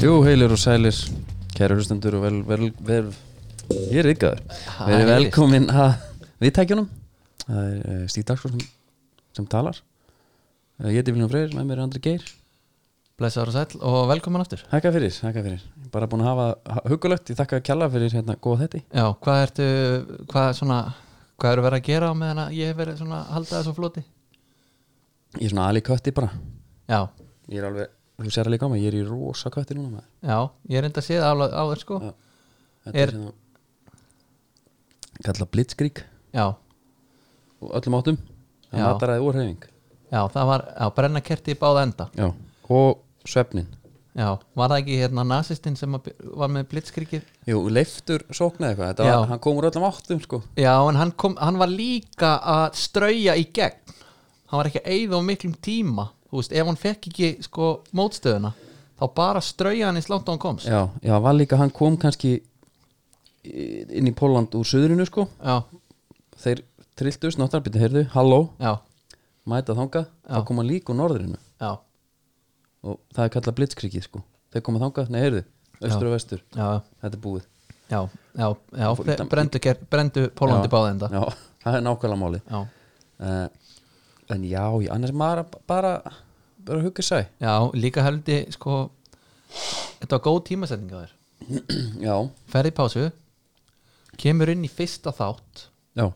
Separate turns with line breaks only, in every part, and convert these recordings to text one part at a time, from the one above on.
Jú, heilir og sælir, kæru hlustendur og vel, vel, vel, ég er ykkaður. Við erum
heyrist.
velkomin að viðtækjunum. Það er uh, Stíð Dagsson sem, sem talar. Uh, ég heiti Viljum Freyr, með mér er Andri Geir.
Blessaður og sæl og velkomin aftur
Hækka fyrir, hækka fyrir. Ég er Bara búin að hafa ha- huggulegt, ég þakka að kjalla fyrir hérna góða þetti.
Já, hvað ertu, hvað er svona hvað eru verið að gera á meðan að ég hef verið svona að halda þessu á floti?
Ég er svona alveg kötti bara.
Já,
Ég er alveg, þú sér alveg á mig, ég er í rosa kötti núna maður.
já, ég reynda að sé það alveg á þér sko
Já.
Já,
Þetta
Er-
er hérna svona, kalla blitzkrík
já,
og öllum áttum. Það
Já.
mataræði og hreyfing.
það var, já, brenna kerti í báða enda
Já. Og svefnin.
Já, var það ekki hérna nasistinn sem að by- var með blitzkrikið?
Jú, leiftur sóknaði eitthvað Þetta var,
Já.
hann kom úr öllum áttum sko
Já, en hann, kom, hann var líka að strauja í gegn Hann var ekki að eyða á miklum tíma Þú veist, ef hann fekk ekki sko mótstöðuna þá bara strauja hann í slátt á hann komst
Já, já, var líka, hann kom kannski í- inn í Póland úr söðrinu sko
Já,
Þeir trilltust, náttúrulega, heyrðu, halló
já,
mæta þangað,
Já.
þá koma líka úr norðrinu
já,
og það er kallað blitzkrikið sko Þeir koma þangað, nei, heyrðu, austur og vestur
já,
Þetta er búið
já, já, já
Fór
bre-
illa-
brendu, ger, brendu Pólandi
Já.
báðenda já.
Já, það er nákvæmlega máli
Já,
uh, En já, já, annars maður bara, bara, bara hugga sæ
líka heldi sko þetta var góð tímasetning á þér
Já,
ferði pásu kemur inn í fyrsta þátt
já,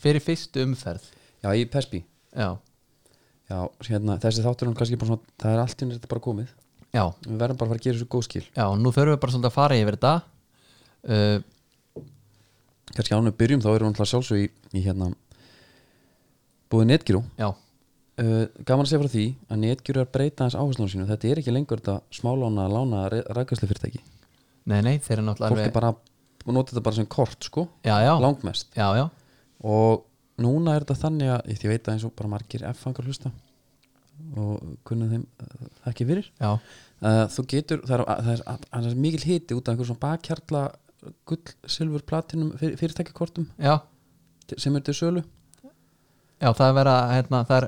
fyrir fyrstu umferð
já, í Pespi
já,
Já, hérna, þessi þáttur er nú kannski bara svona, það er allt í henni þetta bara komið
já,
Við verðum bara að fara að gera þessu góð skil
já, nú þurfum við bara svolítið að fara yfir þetta uh,
Kanski ánum við byrjum þá erum við náttúrulega sjálfsög í, í hérna Búið netgyrú
já,
uh, Gaman að segja frá því að netgyrú er að breyta hans áherslunum sínu Þetta er ekki lengur þetta smálána lána rækastlu fyrirtæki
nei, nei, þeir eru náttúrulega
Fólk er bara að nota þetta bara sem kort sko
já, já,
Langmest
já, já,
Og núna er þetta þannig að ég því veit að eins og bara margir F-fangar hlusta og kunnum þeim uh, ekki fyrir
já,
uh, þú getur, það er, það er, það er mikil hiti út af einhver svona bakhjarla gull, silfur, platinum fyrir, fyrirtækjakortum
já,
sem er til sölu
já, það er verið að hérna, það er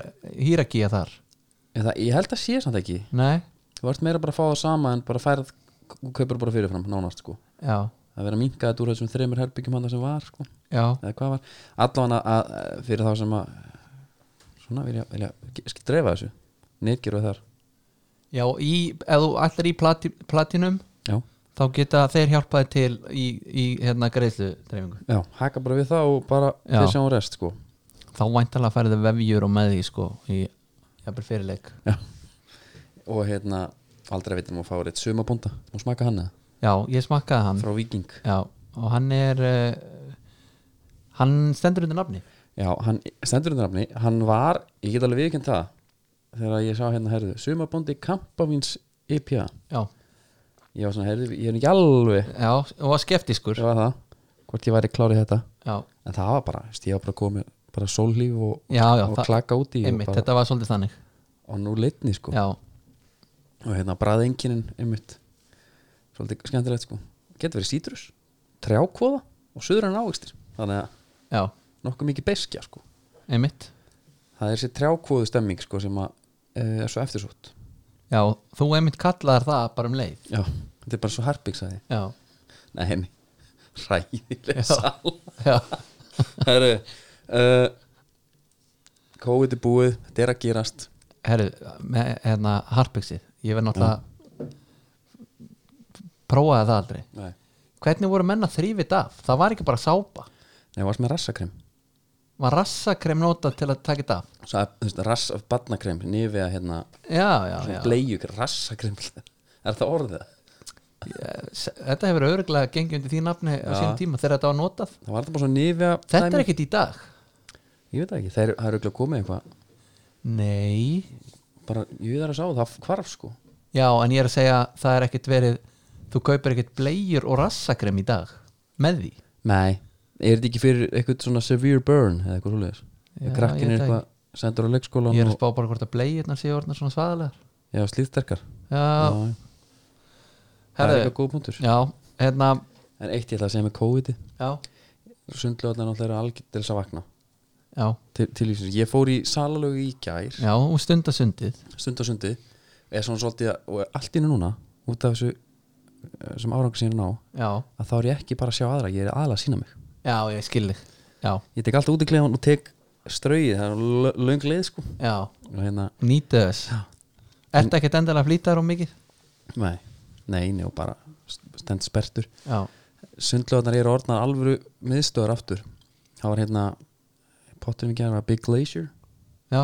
hýrakíja þar
En það, ég held að sé samt ekki
nei,
Þú ert meira bara að fá það sama en bara færð þú kaupir bara fyrirfram, nánast sko
já,
Það er verið að minka þetta úr þessum þreymur herbyggjum hann sem var sko,
já
eða hvað var Allan að, að fyrir þá sem að svona vilja, vilja skil dreifa þessu Nýrgeru þar
Já, í, ef þú allir í plati, platinum
Já,
þá geta þeir hjálpaði til í, í hérna greiðslu dreifingu
já, haka bara við það og bara
Já.
þeir sjáum rest sko
þá væntalega færðu vefjur og með því sko í jafnvel fyrirleik
Já Og hérna, aldrei veitum að fá rétt sumabónda og smaka hann eða,
Já, ég smakkaði hann
frá Viking
Já, og hann er uh, hann stendur undir nafni
Já, hann stendur undir nafni Hann var, ég get alveg viðkjönd það Þegar ég sá hérna, herðu, sumabóndi Kampavíns IPA
Já,
E Ég var svona, herðu, ég er ekki alveg
já og var skeptiskur
Ég var það, hvort ég væri klárið þetta
Já,
En það var bara, veist, ég var bara komið bara sóllíf og,
já, já
og
það-
klaka út í og
einmitt,
bara,
þetta var svolítið þannig
Og nú leitni, sko
Já,
Og hérna, bræðinkinin, einmitt Svolítið skemmtilegt, sko Getur verið sítrus, trjákvoða og suðrann ávegstir Þannig að
já,
nokkuð mikið beskja, sko
einmitt
Það er þessi trjákvoðu stemming, sko, sem að e, er svo eftirsótt
Já, þú einmitt kallaðar það bara um leið
Já, þetta er bara svo harpiksæði
Já,
Nei, henni, ræðileg
Já.
sal
já,
Herru uh, COVID er búið, þetta er að gerast
herru, með, hérna harpixið, ég verð náttúrulega prófaði það aldrei
Nei,
hvernig voru menna þrýfið af það var ekki bara sápa
Nei varst með rassakrem
var rassakrem nota til að taka þetta af
Svo að, þú veist, rass af badnakrem Nýfið að hérna,
já, já, já
bleið rassakrem Er það orðið?
S- þetta hefur örgulega gengið undir því nafni á sínum tíma þegar þetta var notað
Það var þetta bara svo nýfið að
þetta er ekkit í dag
Ég veit það ekki, þeir, það er auðvitað komið eitthvað
nei,
Bara, ég þar að sá það, það hvarf sko
já, en ég er að segja það er ekkit verið, þú kaupir ekkit blegjur og rassakrem í dag með því
Nei, er þetta ekki fyrir eitthvað svona severe burn eða eitthvað svoleiðis
Já,
Krakkin
ég
er
veit það
eitthvað sendur á leikskólan
ég er að
og,
spá bara hvort að blegjurnar séu orðnar svona svaðalegar
Já, slíðsterkar
já,
Já, það er
herru,
eitthvað góð punktur
já, hérna
En eitt ég ætla að segja með COVID-i
já,
Sundlöðarnar náttúrulega eru algjörn til þess að vakna
já, um
til, til, lífsins. Ég fór í salalögu í gær
já, og stundasundið
stund á sundi eða svona svolítið að, og allt innu núna út af þessu eh, sem árangur sína ná
já,
að þá er ég ekki bara að sjá aðra, ég er aðla að sína mig
já, ég skilði já,
ég tek alltaf út í klefan og tek strauði það er lö- löng leið sko
já,
og hérna,
nýta þess
Já.
ertu ekkert endilega að flýta þér á mikið
nei, nei, nei og bara stend spertur
já,
sundlöðnar eru orðnar alvöru miðstöðar aftur það var hérna potturinn við gerðum að Big Glacier
já,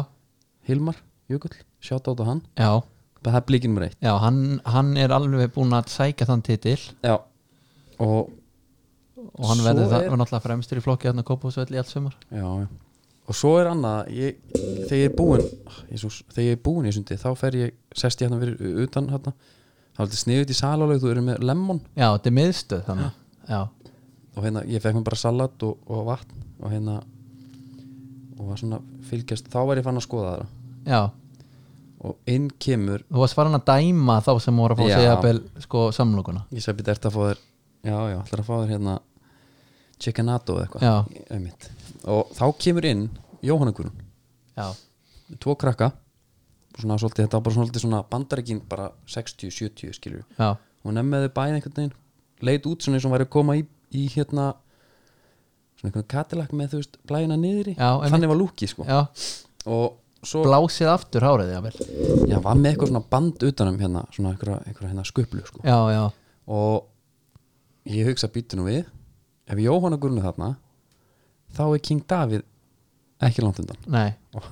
Hilmar Jökull, sjátt á hann
já
það er blíkinum reitt
já, hann, hann er alveg búin að sækja þann titil
já. og
og hann
Svo
verður það,
er-
var náttúrulega fremstur í flokki hann að kópa þessu öll í allt sumar
já, já. og svo er annað ég, þegar ég er búinn Jesus, þegar ég er búinn í sundi þá fer ég sest ég hérna fyrir utan hérna það er alltaf sniðut í salalög þú eru með lemon
já, þetta er miðstöð þannig já,
og hérna ég fekk mér bara salat og, og vatn og hérna og var svona fylgjast þá var ég fann að skoða það
já,
og inn kemur
þú varst farin að dæma þá sem voru að fá að
Já.
segja bel, sko, samlokuna
ég sagði betur eftir að fá þér já já ætlar að fá þér hérna chickenado eða
Já.
eitthvað einmitt. og þá kemur inn Jóhannakurun
já,
tvo krakka svona svolítið, þetta var bara svolítið svona bandarækin bara 60-70 skilur
já,
hún emmiði bæði einhvern veginn leit út svona eins og hún væri að koma í, í hérna svona einhvern katilak með þú veist blæina niðri,
Já, einmitt.
þannig var lúki sko
já
og svo,
blásið aftur hárið, já, vel
já, var með eitthvað svona band utanum hérna, svona einhverja, einhverja hérna skuplu sko
já, já,
og ég hugsa býtu nú við ef Jóhanna Gurnu þarna þá er King David ekki langt undan
nei
og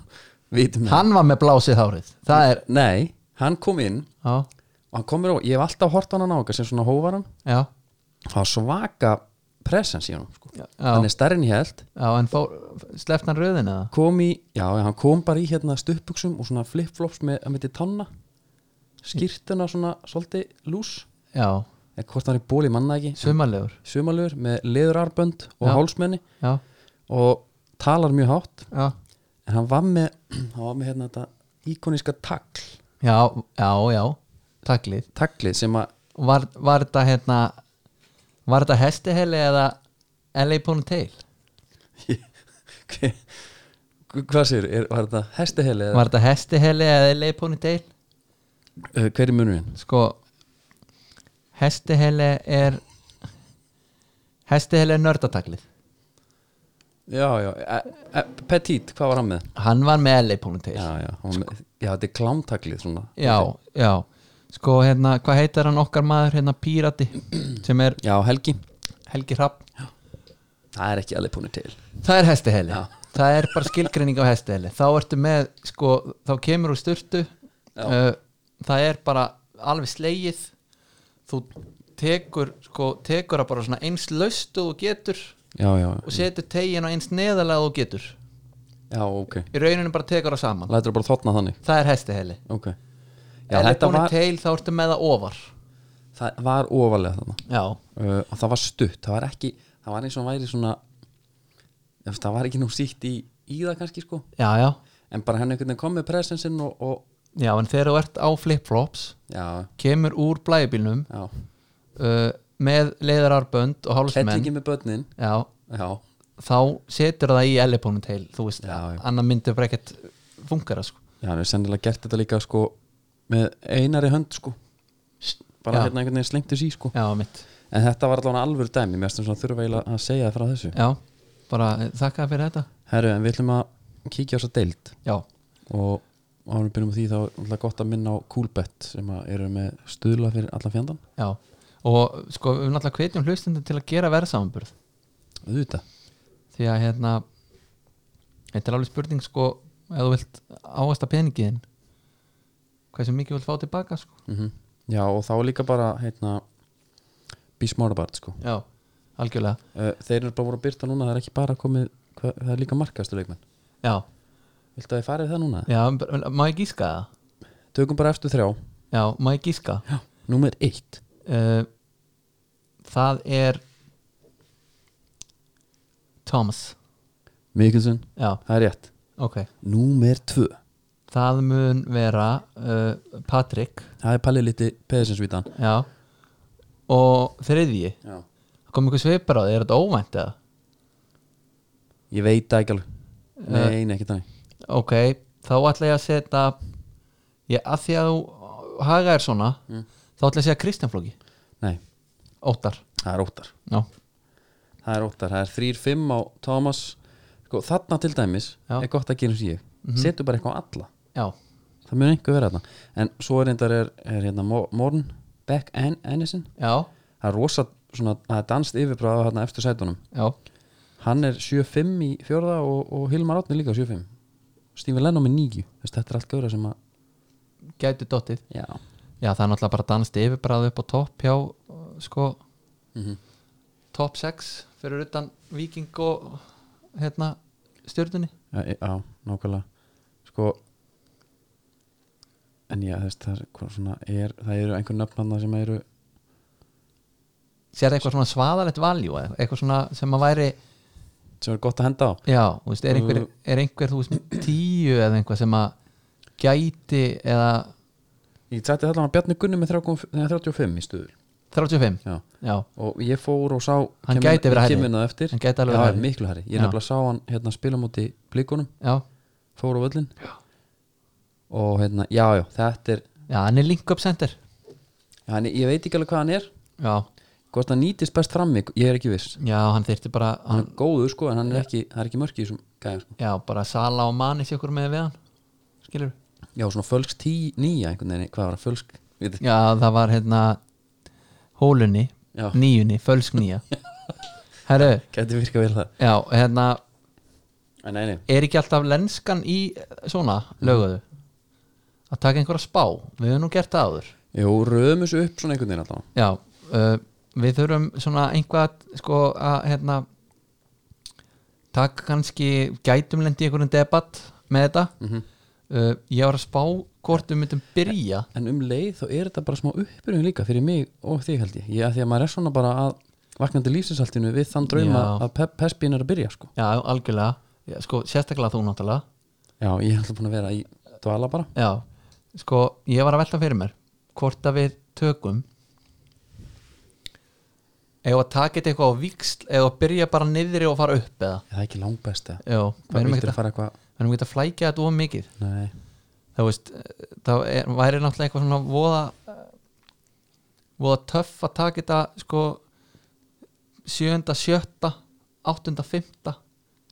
vitum það
hann var með blásið hárið það er,
nei, hann kom inn
já,
og hann komur á, ég hef alltaf hort á hann á okkar sem svona hóvaran
já
það var svaka presens í hann sko.
já,
hann
já,
er stærri en ég held
en fór, sleft hann röðin eða
kom í, já, já, hann kom bara í hérna stuppuksum og svona flipflops með, með til tanna skýrtuna svona svolítið lús
já,
eða hvort hann er í bóli manna ekki
sumarlegur,
sumalur með leðurarbönd og
Já.
hálsmenni
já,
og talar mjög hátt
já
en hann var með, hann var með hérna þetta íkoniska tagl
já, já, já, taklið
taglið sem að,
var, var þetta hérna var þetta hestiheli eða LA Ponytail
Hve- hvað sér, er, var þetta hestiheli eða
var þetta hestiheli eða LA Ponytail
uh, hver er munurinn?
sko hestiheli er hestiheli er nördataklið
Já, já, e, e, Petit, hvað var hann með?
hann var með LA Ponytail
Já, já, hann var með, já þetta er klámtaglið svona
já, já. sko hérna, hvað heitir hann okkar maður hérna Pírati sem er
Já, Helgi,
Helgi Hrapp
það er ekki alveg púnir til
það er hestiheli
Já.
það er bara skilgreining á hestiheli þá ertu með, sko, þá kemur úr styrtu uh, það er bara alveg slegið þú tekur, sko, tekur það bara svona eins laust og þú getur
Já, já,
og setur tegin á eins neðalega og þú getur
já, ok
í rauninu bara tekur það saman
Lætur bara þotna þannig,
það er hestiheli
ok Já,
eða
þetta
búinu
var,
teil þá ertu með það ofar
það var ofalega þarna
já,
uh, og það var stutt það var ekki, það var eins og hann væri svona þú veist, það var ekki nú sítt í, í það kannski sko
já, já
en bara hann einhvern veginn kom með presensinn og, og
Já, en þegar þú ert á flip-flops
já,
kemur úr blæjubilnum
já,
uh, með leiðararbönd og hálsmenn
kettingi með börnin
já,
já,
þá setur það í elefónum til, þú veist,
Já, já.
annar myndi bara ekkert fungara, sko
já, hann er sennilega gert þetta líka sko með einari hönd sko bara
Já.
hérna einhvern veginn slengtis í sko
Já, mitt,
en þetta var allavega alvöru dæmi, mér finnst svona þurfa eiginlega að segja frá þessu
já, bara eh, þakka fyrir þetta
herru, en við ætlum að kíkja á þessa deild
Já,
og árum byrjum á því þá er náttúrulega gott að minna á Coolbet sem að eru með stuðla fyrir allan fjandan
já og sko, við náttúrulega hvetjum hlustundu til að gera verðsamanburð
auðvitað,
því að hérna þetta er alveg spurning, sko ef þú vilt áasta peningiðin hversu mikið þú vilt fá tilbaka, sko
mm já og þá er líka bara heitna, be smart about it, sko
Já, algjörlega
uh, þeir eru bara voru að byrta núna, það er ekki bara komið hva, það er líka markastu leikmenn
Já,
viltu að ég farið það núna?
já, bara- má ég gíska það?
tökum bara eftir þrjá,
Já, má ég gíska
númer eitt
uh, Það er Thomas
Mikkelsen,
Já,
það er rétt
ok
númer tvö,
Það mun vera uh, Patrick
það er pallið liti peðisinsvítan
Já Og þriðji
já
Kom ykkur svipar á því, er þetta óvænt eða?
Ég veit það ekki alveg
Eh.
Nei, nei, ekki þannig
Ok, þá ætla ég að setja Ég, að því að þú haga er svona Þá ætla ég að segja Kristján Flóki
Nei,
óttar
það er óttar
já,
það er óttar, það er 3-5 á Thomas sko, þarna til dæmis
Já. Mhm.
er gott að gera sem ég setur bara eitthvað á alla,
já,
það mun einhver vera þarna en svo er reyndar er, er hérna Mo- Morn Beck An Anderson
já,
það er rosa, svona, það er danst yfirbráða hérna eftir sætunum,
já
hann er 7-5 í fjórða og, og Hilmar Átni líka 7-5 Stífi Lennon með 9 Þess, þetta er allt gauðra sem að
gætu dottið
já,
já, það er náttúrulega bara danst yfirbræðu upp á topp hjá uh, sko topp 6 fyrir utan viking og hérna stjörnunni
já, e- já nákvæmlega sko en já, þess, það, er, hvað svona, er, það eru einhver nöfnanna sem eru
sér eitthvað svona svaðalegt valjú eitthvað svona sem að væri
sem er gott að henda á
já, þú veist, er einhver, er einhver þú veist, tíu eða einhver sem að gæti eða
Ég tætti allan að Bjarni Gunni með 3,5 nei, 35 í stuður
35
já.
já,
og ég fór og sá
Hann gæti verið hærri.
kemina eftir
Hann gæti alveg
já,
verið hærri.
miklu hærri ég
Já.
nefnilega sá hann hérna spila múti blíkunum
já,
fór á völlin já. og hérna, já, já, þetta er
já, hann er link up center
já, hann, ég veit ekki alveg hvað hann er
já,
hvort hann nýtist best frammi, ég er ekki viss
já, hann þyrfti bara
hann
hann,
er góður sko, en hann er ekki, það er ekki mörki sem gæði sko.
já, bara sala og manis ykkur með við hann skilur
já, svona fölsk 10, 9 einhvern veginn, hvað var það, fölsk við,
já, það var hérna hólunni,
já,
nýjunni, fölsk nýja herru,
gæti virkað vel það
já, hérna
en nei, nei,
er ekki alltaf lenskan í eh, svona löguðu að taka einhverja spá, við höfum nú gert það áður
jú, röðum þessu upp svona einhvern veginn alltaf
Já, uh, við þurfum svona einhvað sko að hérna taka kannski gætum lendi í einhverjum debatt með þetta uh, ég var að spá hvort við myndum byrja
en um leið þá er þetta bara smá uppbyrjun líka fyrir mig og þig held ég, ég að því að maður er svona bara að vaknandi lífsinsaltinu við þann drauma
Já.
að pe Pespin er að byrja sko
Já, algjörlega, já, sko sérstaklega þú náttúrulega
já, ég er alltaf búin að vera í dvala bara
Já, sko ég var að velta fyrir mér hvort að við tökum ef að taka þetta eitthvað á viksl eða að byrja bara niðri og fara upp eða
Er það er ekki langbest eða
Já, við
hvað
erum
viltir
ekkert
að
að,
fara eitthvað
við erum ekkert að flækja þetta of mikið
nei,
þá veist þá er, væri náttúrulega eitthvað svona voða voða töff að taka þetta sko sjönda, sjötta áttunda, fymta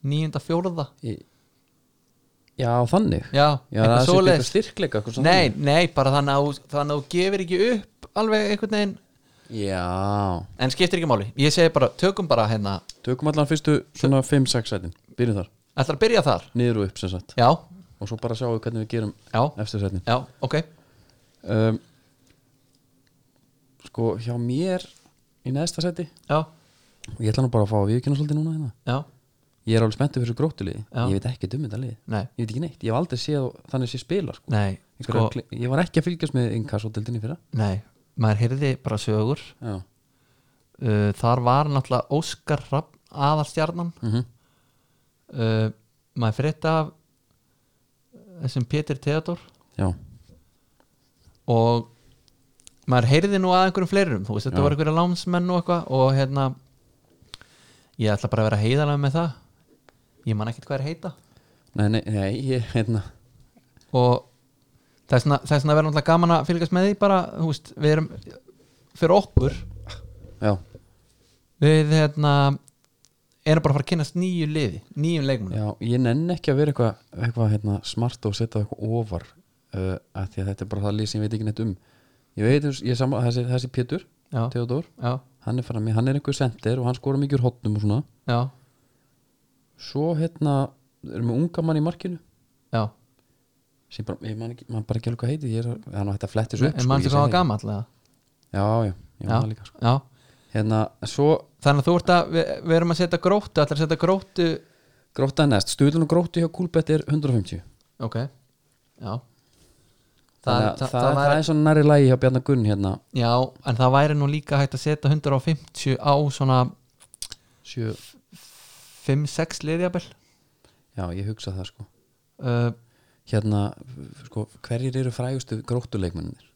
nýjunda, fjórða
í... já, þannig já,
já,
það er
eitthvað
sér eitthvað
svoleiðis
styrkleika eitthvað svona
nei, nei, bara þannig að, þú- þannig að þú gefur ekki upp alveg einhvern veginn
já,
en skiptir ekki máli, ég segi bara, tökum bara hérna
tökum allan fyrstu svona 5-6 sætin, byrjum þar
ætlar að byrja þar
niður og upp sem sagt
já,
og svo bara sjáum við hvernig við gerum
já,
eftir sætin
já, ok
um, sko, hjá mér í neðsta sæti
já,
og ég ætla nú bara að fá að viðkynna svolítið núna hérna.
já,
ég er alveg spenntið fyrir þessu gróttuliði
Já.
ég veit ekki um þetta liði,
nei,
ég veit ekki neitt ég hef aldrei séð og- þannig sé spila sko.
nei sko,
Einhverja kli- ég var ekki að fylgjast með inkassódeldinni fyrra
nei, maður heyrði bara sögur
já,
uh, þar var náttúrulega Óskar Rapp aðarstjarnan
mm
uh, maður frétt af þessum Pétur Theodor
já.
og maður heyrði nú að einhverjum fleirum þú veist þetta
Já.
voru einhverja lánsmenn og eitthvað og hérna ég ætla bara að vera heiðalega með það ég man ekkert hvað er heita
Nei, nei, nei, ég, hérna
og þess vegna þess vegna verður náttúrulega gaman að fylgjast með því bara, þú veist, við erum fyrir okkur,
já,
við hérna erum bara að fara að kynast nýju liði nýjum leikmunum
já, ég nenn ekki að vera eitthvað eitthva, hérna, smart og setja eitthvað ofar uh, að því að þetta er bara það lið sem ég veit ekki neitt um ég veit, þú- ég saman, þessi, þessi Pétur
já,
Theodor,
já,
hann er frammi, hann er einhver sendir og hann skora mikið úr hotnum og svona
já,
svo hérna, erum við unga mann í markinu
já.
sem bara, ég man, ekki, man bara ekki alveg hvað heiti ég er að, það er nú hægt að fletti svo upp sko,
en mannstu
ég
hvað var
segi-
gamall eða?
já, já, ég man
Já.
það líka sko.
já,
hérna, svo
þannig að þú ert að við, við erum að setja gróttu, allar að setja gróttu
gróta næst, stuðlun og gróti hjá Kúlbett er 150
ok, já
það,
það,
það, það, er svona næri lægi hjá Bjarnar Gunn hérna,
já, en það væri nú líka hægt að setja 150 á svona
sjö,
5-6 liðjabel
já, ég hugsa það sko
uh,
hérna, f- sko, hverjir eru frægustu gróttuleikmennir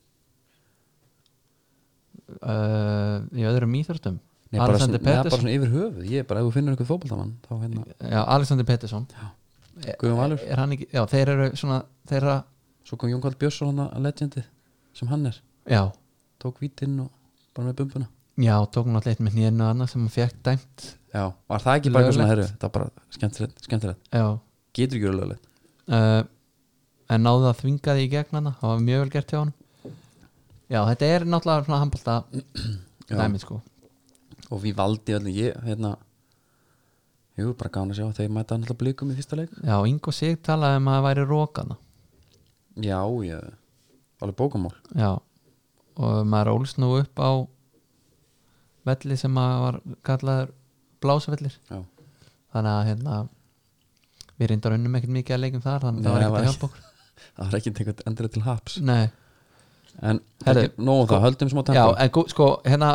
uh, í öðrum íþjórstum
Nei, bara, svona,
Alexander
neða, bara
Pettersson
svona yfir höfuð ég er bara, ef þú finnur einhver fótboltamann þá hérna,
já, Alexander Pettersson
Guðjón Valur
er hann ekki, já, þeir eru svona þeirra,
svo kom Jón Karl Björnsson hann að legendið sem hann er,
já,
tók vítinn og bara með bumbuna
já, tók hún alltaf eitt með hnýðinu annað sem hún fekk dæmt
já, var það ekki bara eitthvað svona herru
Löglegt.
það er bara skemmtilegt, skemmtilegt.
já,
getur ekki verið löglegt
uh, en náði að þvinga því í gegn hana það var mjög vel gert hjá hann já, þetta er náttúrulega svona handbólta
Já.
dæmið sko
og við valdi öllum ég hérna jú, bara gana að sjá þeir mæta náttúrulega blikum í fyrsta leik
já, Ingo Sig talaði um að það væri rókana
já, ég alveg bókamál
já, og maður ólst nú upp á velli sem að var kallaður blásavellir
já,
þannig að hérna við reyndar unnum ekkert mikið að leikum þar þannig að það
Nei,
var ekkert
var
að hjálpa okkur
það var ekki tengt endilega til haps
nei,
en,
Herru,
Herri, nóg um það, höldum smá
já,
tempo
en gó- sko hérna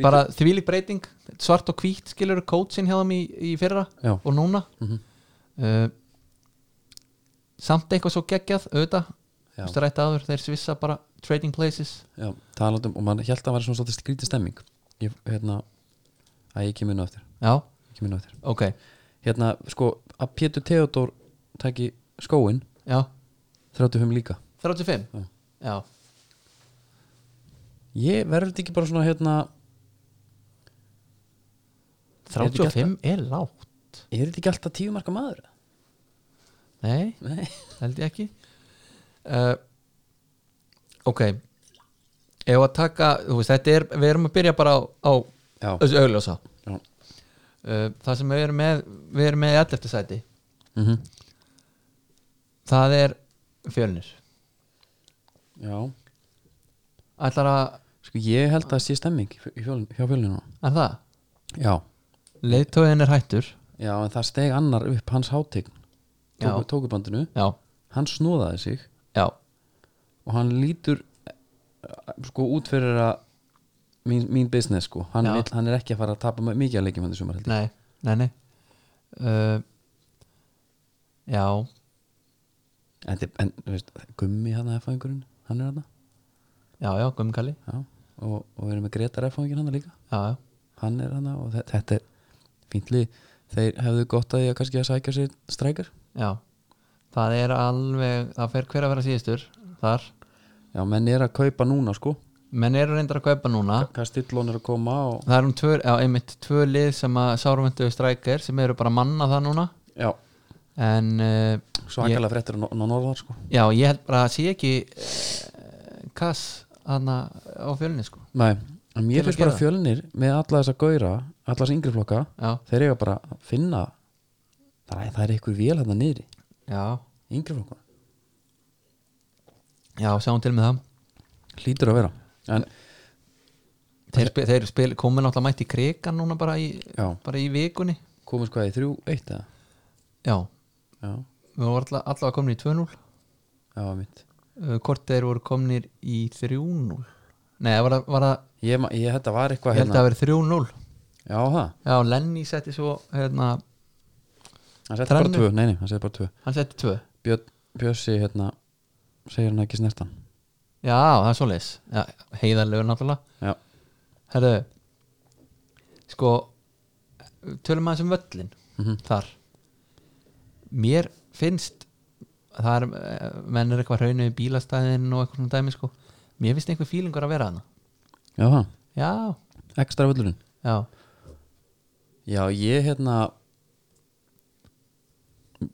bara þvílík breyting svart og hvít skilur kótsinn hjá þeim í, í fyrra
Já.
og núna
Mhm.
uh, samt eitthvað svo geggjað auðvitað,
Já.
þú veist að rætta áður þeir svissa bara trading places
Já, talandum og mann held að það var svona svolítið skrítið stemming ég, hérna, að ég kemur nú eftir
já,
ég kemur nú eftir
ok,
hérna, sko, að Pétur Theodor taki skóin,
já
35 líka
35,
Já.
já,
ég verður þetta ekki bara svona, hérna Er þetta ekki
35 er lágt
er þetta ekki alltaf tíu marka maður?
nei,
Nei,
held ég ekki uh, ok ef að taka, þú veist, þetta er við erum að byrja bara á, á
já,
þessu augljósa
já
uh, það sem við erum með við erum með í alleftu sæti
mm
það er fjölnir
já,
ætlar að,
sko, ég held að það sé stemming í fjölun, hjá fjölunum
er það
já,
leiðtóðin er hættur
já, en það steg annar upp hans hátign
Já.
tóku, tókubandinu,
já,
hann snóðaði sig
já,
og hann lítur eh, sko út fyrir að mín, mín business sko hann,
Já.
vill, hann er ekki að fara að tapa m- mikið að leikjum hann þessum heldur
nei, nei, nei uh, já,
en, þið- en þú veist, gummi hann að F-fæðingurinn hann er hann
já, já, gummkali
og, og við erum með Gretar F-fæðingin hann líka
já, já,
hann er hann og þe- þetta er fíntli þeir hefðu gott að ég kannski að sækja sér strækar
já það er alveg, það fer hver að vera síðistur þar,
já menn er að kaupa núna sko
menn eru reyndar að kaupa núna
Kastillón er að koma og
það er um tvö, já, einmitt tvö lið sem að sárumvendu strækir sem eru bara að manna það núna
já
en uh,
svakalega ég... fréttur á á norðar sko
já, ég held bara að sé ekki uh, kass hana á fjölni sko
nei en mér
Til að
finnst
gera
bara
það.
fjölnir með alla þessa gauðra alla þessa yngri flokka
já,
þeir eiga bara að finna það er, það er eitthvað vél hérna niðri
já,
yngri flokkuna,
já, sjáum til með það
hlýtur að vera en
þeir, spil, þeir spil, komin alltaf mætt í krigan núna bara í,
já,
bara í vikunni
komist hvað í þrjú eitt eða,
já,
já,
við vorum alltaf, alltaf komin í 2-0
já mitt
uh, hvort þeir voru komnir í 3-0 nei, var það, var það
ég, ma- ég, þetta var
ég
eitthvað
held að
hérna,
það verið 3-0
já það,
já, Lenny setti svo hérna,
hann seti bara
Þrennu.
tvö nei, nei, hann seti bara tvö,
hann setti 2
Björn, Bjössi hérna, segir hann ekki snertan
já, það er svoleiðis já, heiðarlegu náttúrulega
já,
Herru, sko tölum aðeins um völlin
Mhm.
þar mér finnst það er, eh, menn er eitthvað hraunu í bílastæðin og eitthvað svona dæmi sko mér finnst einhver fílingur að vera hana
já það,
já,
ekstra völlurinn
já,
já, ég hérna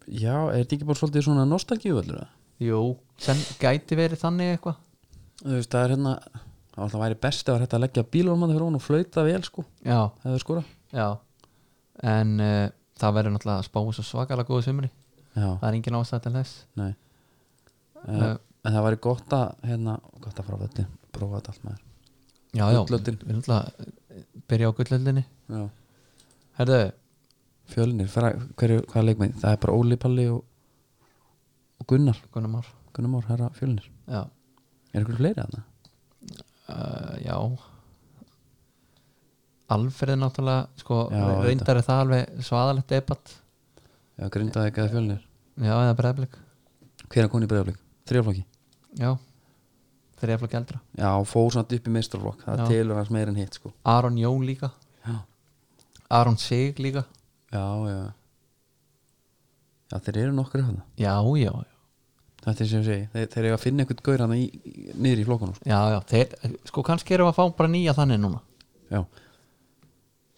já, er þetta ekki bara svolítið svona nostalgíu völlur eða?
jú sem gæti verið þannig eitthvað
þú veist, það er hérna það var alltaf væri best ef þetta að leggja bílormann fyrir hún og flauta vel sko,
já,
hefur skora
já en uh, það verður náttúrulega að spá svo svakalega góðu sumri
já,
það er engin ástæð til þess
nei uh,
uh,
en það væri gott að hérna, gott að fara á völlin, prófa þetta allt maður
já, já,
Gullöldin.
við náttúrulega eh, byrja á gullöldinni
já.
herru,
fjölnir, fara, hverju, hvaða leikmið það er bara Óli Palli og, og Gunnar,
Gunnar Már
Gunnar Már herra fjölnir,
já
er ykkur fleiri að það?
uh, já Alfreð náttúrulega sko,
Já,
reyndar er það alveg svaðalegt debatt
já, grindaði ekki að fjölnir
já, eða breyðblik
hver er koni í bregðarleik, þrjáflokki
já, þrejaflokk eldra
já, fór svona upp í meistarflokk, það
Já.
telur hans meir en hitt sko
Aron Jón líka,
já,
Aron Sig líka
já, já já, þeir eru nokkru að það
já, já, já.
þetta er sem ég segi, þeir, þeir eru að finna einhvern gaur hann í, í niður í flokkunum sko.
já, já, þeir, sko kannski erum við að fá bara nýja þannig núna
já,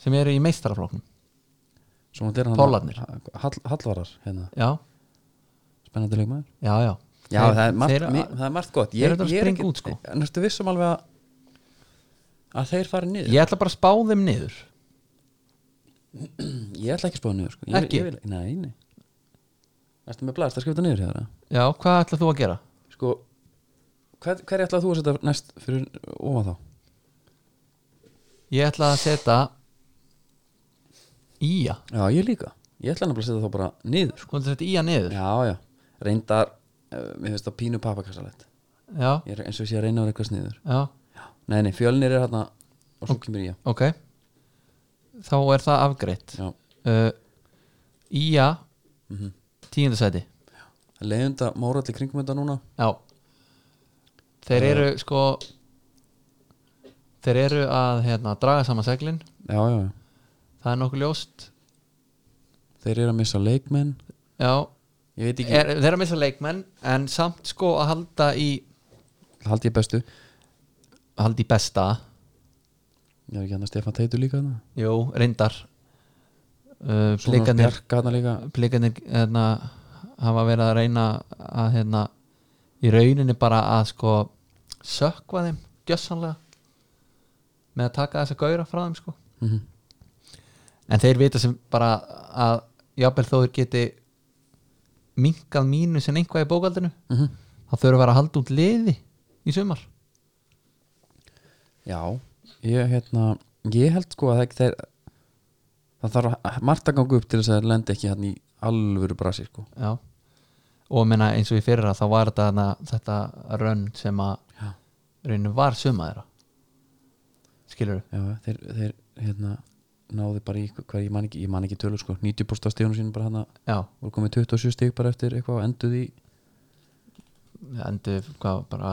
sem eru í meistarafloknum
svo náttúrulega er hann
Pollarnir.
Hall, Hallvarar, hérna,
já,
spennandi leikmaður
já, já
Já,
Þeir-
það, er margt,
þeir-
mi, það er margt gott
þeir eru að springa út, sko.
En ertu vissum alveg að að þeir fari niður
ég ætla bara að spá þeim niður
Ég ætla ekki að spáða niður sko. ég,
Ekki?
Ég vil, nei, nei Ertu með blast að skrifa þetta niður hérna
já, hvað ætla þú að gera?
Sko, hver, hver ætlaði þú að setja næst fyrir ofan þá?
ég ætla að setja ía
Já, ég líka Ég ætla nefnilega að setja þá bara niður sko.
sko þetta setja ía niður já,
Já, já, reyndar uh, Mér finnst það pínu pappakassalegt
já,
Ég er eins og ég sé að reyna að vera eitthvað sniður Nei, nei, fjölnir er hérna og svo kemur ég
ok þá er það afgreitt
Já,
uh, ía tíundasæti
leiðunda móralli kringum þetta núna
Já Þeir eru sko Þeir eru að hérna, draga saman seglin
Já, já, já
Það er nokkuð ljóst
Þeir eru að missa leikmenn
Já,
Ég veit ekki,
er, þeir eru að missa leikmenn En samt sko að halda í
haldi ég bestu
Halda í besta
Ég er ekki hann að Stefán Teitur líka hana
Jú, reyndar uh,
Svona
Blikarnir
Bjark hana líka
Blikarnir hérna, hafa verið að reyna að hérna, í rauninni bara að sko sökva þeim gjössanlega með að taka þessa gauðra frá þeim sko
mm
en þeir vita sem bara að jafnvel þó þeir geti minkað mínu sem einhvað í bókaldinu
-hmm.
þá þurfa að vera að halda út liði í sumar
Já, ég hérna Ég held sko að það ekki þeir Það þarf að- margt að ganga upp til þess að lendi ekki hann í alvöru brasi sko
já. og menna eins og í fyrra þá var þetta, þarna- þetta rönn sem að
Já,
rauninu var suma þeirra skilur
já þeir, þeir hérna náðu bara í hvað ég man ekki, ég man ekki tölu sko 90% af stíðunum sínum bara hana
já,
voru komið 27 stíg bara eftir eitthvað og enduð í
endur hvað bara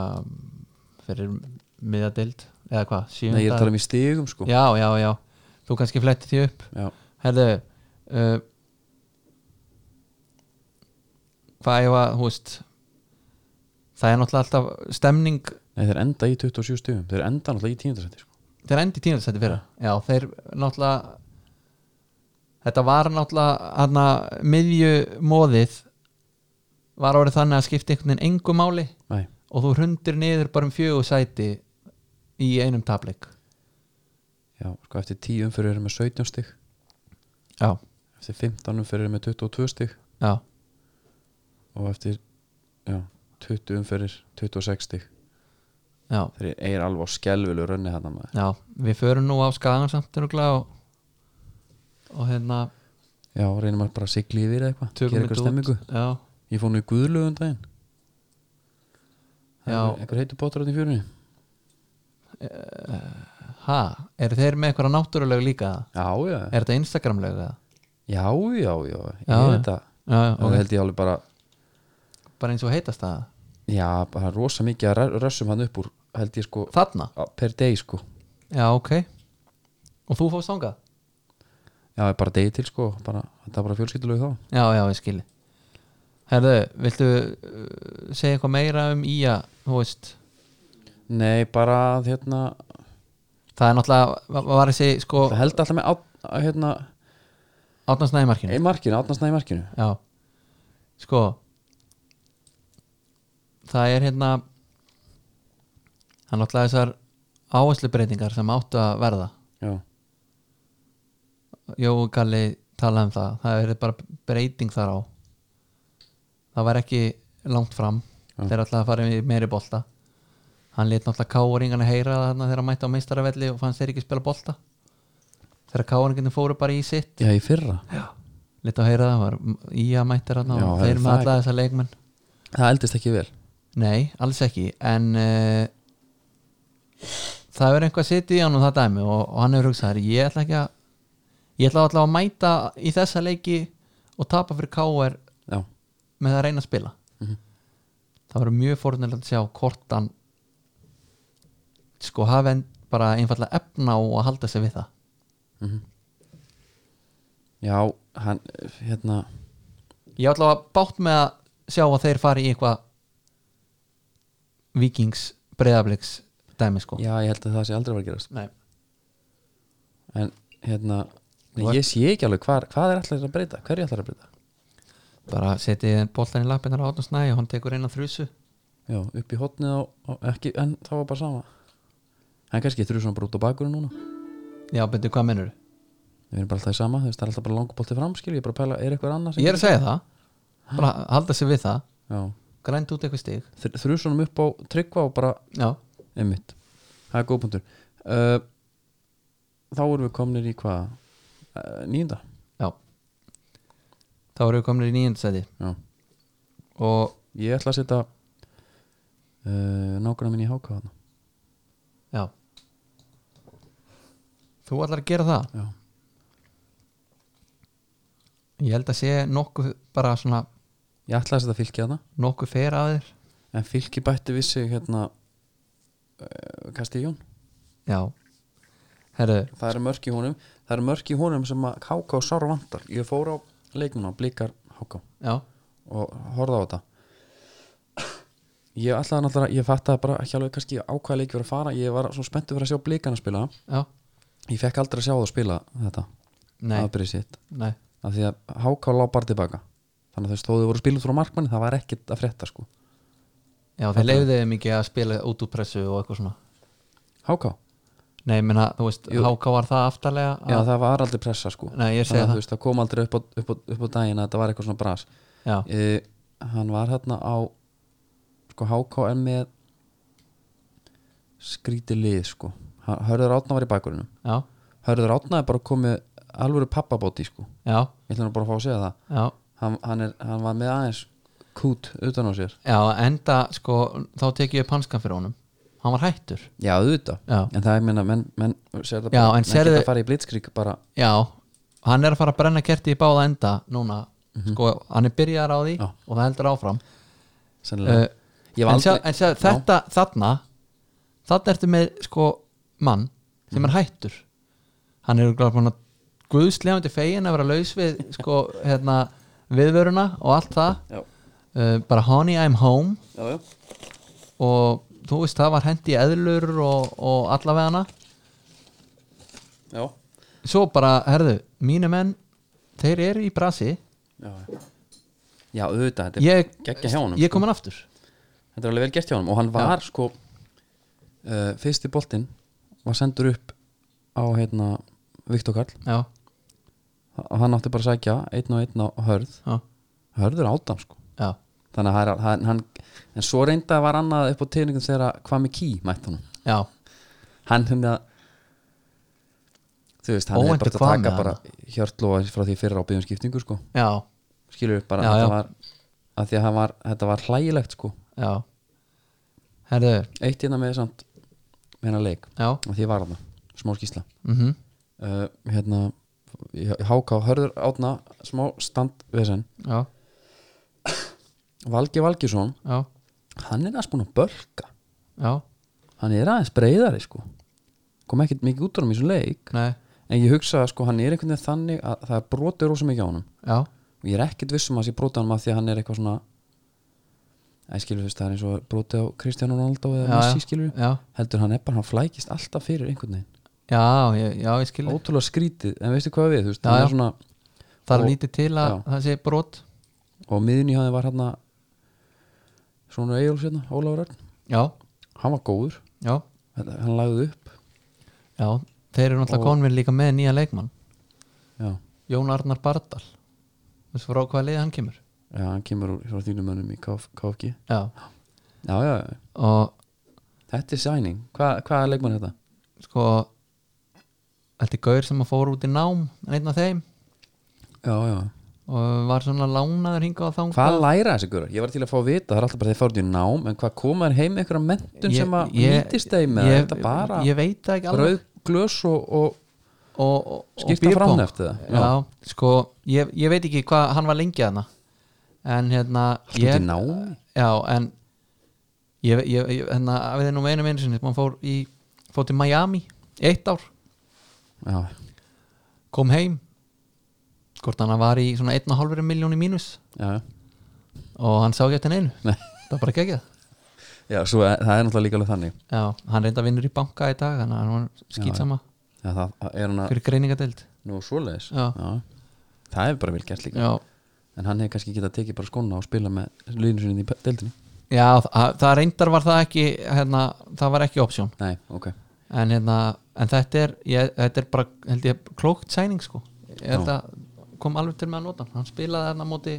fyrir miðadild eða hvað, sjöunda
Nei, ég er að tala um í stígum sko
já, já, já, þú kannski fletti því upp
já.
Herðu uh, Hvað ég var, hú veist Það er náttúrulega alltaf stemning
Nei, þeir enda í 27 stígum Þeir enda náttúrulega í tíundarsætti sko
Þeir endi tímaðsætti fyrra Já, þeir náttúrulega Þetta var náttúrulega hana, miðju móðið var orðið þannig að skipta einhvern veginn engu máli
Nei,
og þú hundir niður bara um fjögur sæti í einum tapleik
já, sko eftir 10 umfyrir erum með 17 stíg
Já,
eftir 15 umferðir með 22 stig
já,
og eftir já, 20 umferðir 26 stig
já,
þeir eigir alveg á skelvilu rönni hérna maður
já Við förum nú á skagan samt örugglega og, og hérna
já, reynum maður bara að sigla yfir eða eitthvað
tökum
gera eitthvað stemmingu,
út já,
ég fór nú í guðlugum daginn Það
Já.
er einhver heitur bóttur á því fjörunni
ha, eru þeir með eitthvað náttúrulega líka
já, já, já,
er þetta Instagramlega
já, já, já. ég
Já,
er
já.
þetta
já, já,
það held ég alveg bara
bara eins og heitast það
já, bara rosa mikið að rö- rössum hann upp úr held ég sko,
þarna,
á- per deg sko
já ok og þú fórst þangað
já, bara degi til sko, bara, þetta er bara fjölskyldulegu þá
já, já, ég skilji herðu, viltu uh, segja eitthvað meira um Ía þú veist,
nei, bara að, hérna
það er náttúrulega var- var þessi sko
það held alltaf með át- að, hérna,
átnarsnæðimarkinu
Í markinu, átnastna í markinu
já, sko það er hérna það er náttúrulega þessar áherslubreytingar sem áttu að verða
Já,
Jói Kalli talaði um það það verið bara breyting þar á það var ekki langt fram
Já.
þeir ætlaði að fara í meiri bolta hann lét náttúrulega káringana heyra þarna þegar hann mætti á meistaravelli og fannst þeir ekki spila bolta þegar káringinu fóru bara í sitt
já í fyrra
lét á heyra það, var í að mætti þarna
Já,
og
það
þeir
er
með
það
alla þessa leikmenn
Það eldist ekki vel
nei, alls ekki en uh, það verið einhvað sitt í hann og það dæmi og, og hann hefur hugsað ég ætla ekki að ég ætla alltaf að mæta í þessa leiki og tapa fyrir KR
Já,
með að reyna að spila það verður mjög fórnilegt að sjá hvort hann sko hafi en- bara einfallega efna á að halda sig við það
já hann, hérna
ég ætla að bátt með að sjá að þeir fari í eitthvað vikings breyðabliks dæmi sko
já, ég held að það sé aldrei að vera að gerast
Nei,
en hérna, nei,
Þú ert-
ég sé ekki alveg hvar, hvað er allir að breyta, hverju allir að breyta
bara setið boltan í lappinnar á Átun Snæ og hann tekur eina þrjusu
já, upp í hotnið á, á ekki, en það var bara sama en kannski þurfum svona bara út á bakur núna
Já, betur hvað mennur
við erum bara alltaf í sama, þú veist, það er alltaf bara langabolti fram skil, ég er bara að pæla, er eitthvað annað sem
Ég er að segja það, bara halda sig við það
já,
grænt út eitthvað stig
Þr- þrusunum upp á tryggva og bara,
Já,
einmitt það er góð punktur uh, þá erum við komnir í hvað uh, nýjunda
já Þá eru við komin í nýjöndsæti
já.
og
ég ætla að setja uh, nákvæmna minn í háka þarna
já Þú ætlar að gera það
já,
Ég held að sé nokkuð bara svona
ég ætla að setja fylki þarna
nokkuð fer að þér
en fylki bætti við sig hérna uh, Kastíjón
Já Herðu,
það eru mörk í honum það eru mörk í honum sem að háka og sára vantar ég fór á leiknum á blikar háka
já,
og horfði á þetta ég ætlaði náttúrulega ég fattaði bara ekki alveg kannski á hvaða leik við erum að fara ég var svo spenntur fyrir að sjá blikana spila
já
ég fekk aldrei að sjá það að spila þetta
Nei,
aðbyrði sitt
nei,
af því að háká lá bara tilbaka þannig að þau stóðu voru spilað frá markmanni það var ekkert að frétta sko
já þeir leiðið mikið að spila út úr pressu og eitthvað svona
háká,
Nei, ég meina, þú veist,
Jú.
háká var það aftarlega
já
að,
það var aldrei pressa sko
Nei,
þannig
ég segi
að
það
þú veist það kom aldrei upp á, upp á, upp á daginn að þetta var eitthvað svona bras
Já,
e, hann var hérna á sko háká er með skríti lið sko Ha- Hörður Átna var í bakurinnum
já,
Hörður Átna er bara komið alvöru pappabóti sko
já,
ég ætla nú bara að fá að segja það
já
hann, hann, er, hann var með aðeins kút utan á sér
Já, enda, sko, þá tek ég upp hanskan fyrir honum Hann var hættur
já auðvitað
Já,
en það er minna menn, menn, sér það
Já,
bara,
en
menn
sérðu-
geta að fara í blitzkrík bara
já, hann er að fara að brenna kerti í báða enda núna Sko, hann er byrjaðar á því
Mhm. Já.
og það heldur áfram
sennilega
uh,
ég var
En, sjá,
aldrei,
en sjá, þetta, þarna Þarna ertu með, sko, mann sem
Mhm.
er hættur Hann er glæður búin að guðslefandi fegin að vera laus við, sko, hérna viðvöruna og allt það
já,
uh, bara Honey I'm Home
já, já.
og þú veist það var hendi eðlur og, og allavega hana
Já.
svo bara, herðu, mínu menn þeir eru í brasi
Já, já. já auðvitað þetta er
ég,
geggja hjá honum sko."
ég kom hann aftur
þetta er alveg vel gert hjá honum og hann var sko uh, fyrsti boltinn var sendur upp á hérna Viktor Karl
já,
og hann átti bara að sækja einn og einn á hörð
já,
hörður áttan sko
já,
þannig að það er- hann, hann en svo reynda var annað upp á tegningum þegar að hvað með ký mætt honum
já,
hann hérna þú veist, hann
Óvæntur
er bara að
hvað með
taka bara hjörtlóa frá því fyrir á byggjum skiptingu sko.
já,
skilur upp bara
Já,
að
já.
þetta var að því að hann var, þetta var hlægilegt sko
já herðu,
eitt hérna með samt með hennar leik,
já
af því ég var þarna smá skísla
mhm
uh, hérna, háká, hörður átna smá standvesen
já,
Valgi Valgisson,
já,
hann er aðeins búin að bölka
já,
hann er aðeins breyðari sko kom ekkert mikið út á hann í þessum leik
nei
en ég hugsa að sko hann er einhvern veginn þannig að það er brotið rosa mikið á honum
já,
og ég er ekkert viss um að það sé brotið á honum að því að hann er eitthvað svona að skilur þú veist það er eins og brotið á Kristján Ronaldo eða
Já,
Messi
já.
skilur
já,
heldur hann er bara, hann flækist alltaf fyrir einhvern veginn
já, ég- já, ég skil
ótrúlega skrítið, en veistu hvað við þú veist,
Já,
hann
já.
er svona,
það er
ó,
lítið til að
já.
það sé brot
og miðun í hann var hann svona Egil sérna, Ólafur Örn
já,
hann var góður,
já,
hann lagði upp
já, þeir eru náttúrulega
Og-
konvinn líka með nýja leikmann
já,
Jón Arnar Bardal þessu frá hvaða liði hann kemur
já hann kemur úr frá þínum mönnum í KF KFG
já.
já, já, já.
og
þetta er sæning, Hva, hvað er leikmann er þetta?
sko þetta er gaur sem að fór út í nám einn af þeim
já, já,
og var svona lánaður hingað og þangað
Hvað læra þessi gura? Ég var til að fá að vita, það er alltaf bara þeir fórið í nám en hvað koma þér heim með einhverja mentun
Ég-
sem að
ég-
nýtist þeim eða er
ég,
þetta bara
ég veit það ekki alveg
brauð, glös og, og
og, og, og
skipta
bírpong.
fram eftir það
já, sko, ég, ég veit ekki hvað hann var lengi aðna en hérna
Allt út í
ég,
námi
já, en ég, ég, ég hérna, við erum nú einu einu sinni hann fór, í, fór til Miami í eitt ár,
Já,
kom heim hvort hann var í svona 1,5 miljóni mínus
já,
og hann sá ekki eftir neinu
Nei.
það var bara geggjað
já, svo er, það er náttúrulega líka alveg þannig
Já, hann reynda vinnur í banka í dag þannig að hann var skýtsama
já, það er hann að,
fyrir greiningadeild
nú svoleiðis
Já.
það hefur bara vel gert líka
Já,
en hann hefur kannski getað tekið bara skona og spila með liðinu sinni í pe- deildinni
já það, það reyndar var það ekki hérna, það var ekki option
nei, ok,
en, hérna, en þetta, er, ég, þetta er bara held ég klókt sæning sko ég held að kom alveg til með að nota hann. hann spilaði hérna móti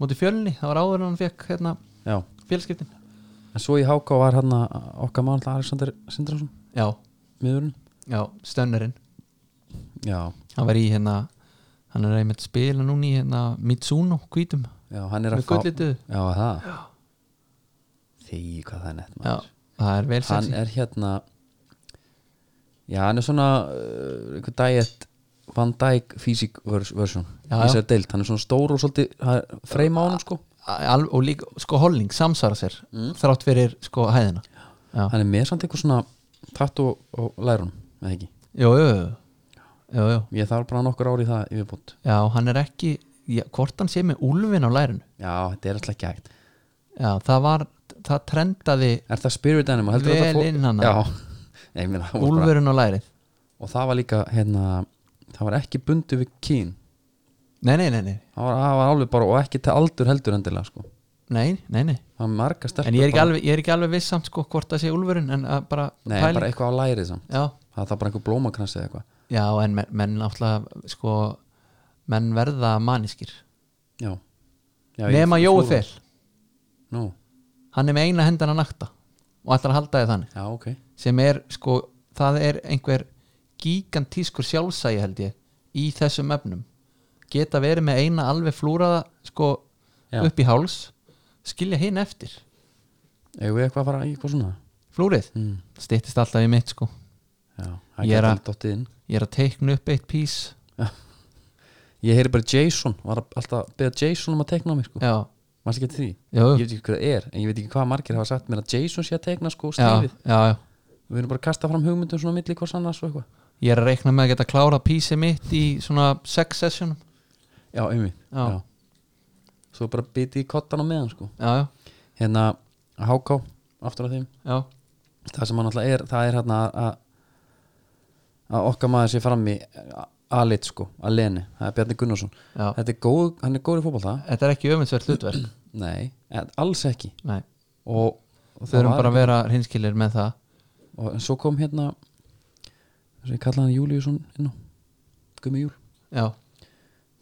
móti fjölni, það var áður en hann fekk hérna,
já
félskiptin
en svo í Háká var hann að okkar mann Alexander Sindrason,
Já,
miðurinn
já, stönnurinn
já,
hann var í hérna hann er einmitt að spila núna í hérna Mitsuno hvítum
já, hann er að
með
fá
gullituðu
já, það því hvað það er nett
Já,
maður
það er vel
hann
sexy
er hérna já, hann er svona uh, einhver diet Van Dijk físík versjón
Já,
í
já.
sér deilt, hann er svona stór og svolítið það er frame á hann sko
Al, og líka, sko Holling samsvara sér
Mm.
þrátt fyrir sko hæðina já.
hann er með samt eitthvað svona tatt og, og lærun, eða ekki
Jú, jú, jú. jú, jú.
ég þarf bara nokkur ári í það yfirbútt
já, hann er ekki já, hvort hann sé með úlfin á lærinu
já, þetta er alltaf ekki hægt
já, það var, það trendaði
er það spirit animal, heldur
Vel
þetta fó-
inn hana.
já, Nei, ég meina, það var bara,
úlfurinn á lærið
og það var líka hérna, það var ekki bundið við kín
nei, nei, nei, nei,
það var, það var alveg bara, og ekki til aldur heldur endilega sko,
nei, nei, nei.
það var marga stelpur
en ég er, ekki
bara-
alveg, ég er ekki alveg viss samt sko hvort það sé úlfurinn en að bara
nei,
pæling-
bara eitthvað á lærið samt
já,
það er það bara einhver blómakransi eða eitthvað
já, en menn, menn náttúrulega sko, menn verða maniskir
já, já ég-
nema Jói
flúor.
Fel
nú,
hann er með eina hendana nakta og ætlar að halda þið þannig
já, ok
sem er sko það er einhver gigantískur sjálfsægi held ég í þessum efnum geta verið með eina alveg flúraða sko
Já.
upp í háls skilja hinn eftir
eigum við eitthvað að fara í eitthvað svona
flúrið,
mm.
styttist alltaf í mitt sko
já, það
Ég er
getur
að-
alveg dottið inn
ég er að teikna upp eitt pís
ég heyri bara Jason, var að- alltaf að beða Jason um að tekna á mig sko,
já,
mannst ekki til því
já,
ég
já,
veit ekki hvað það er, en ég veit ekki hvað margir hafa sagt mér að Jason sé að tekna sko
já,
stífið
já
við erum bara að kasta fram hugmyndum svona á milli hvers annars og eitthvað
ég er að reikna með að geta klárað písi mitt í svona sex sessionum
já, einmitt
Já.
svo bara biti í kottan á meðan sko
já, já,
hérna, háká, aftur á þeim
já,
það sem hann alltaf er, það er hérna að- að að okkar maður sé fram í alit sko, að leni, það er Bjarni Gunnarsson
já.
þetta er góð, hann er góður í fótbolta
þetta er ekki öfundsverð hlutverk
nei, en alls ekki
nei,
og, og
þau erum
var-
bara að vera hinskilir með það
og en svo kom hérna þess að ég kalla hann Júliusson inn á Gummi Júl,
já,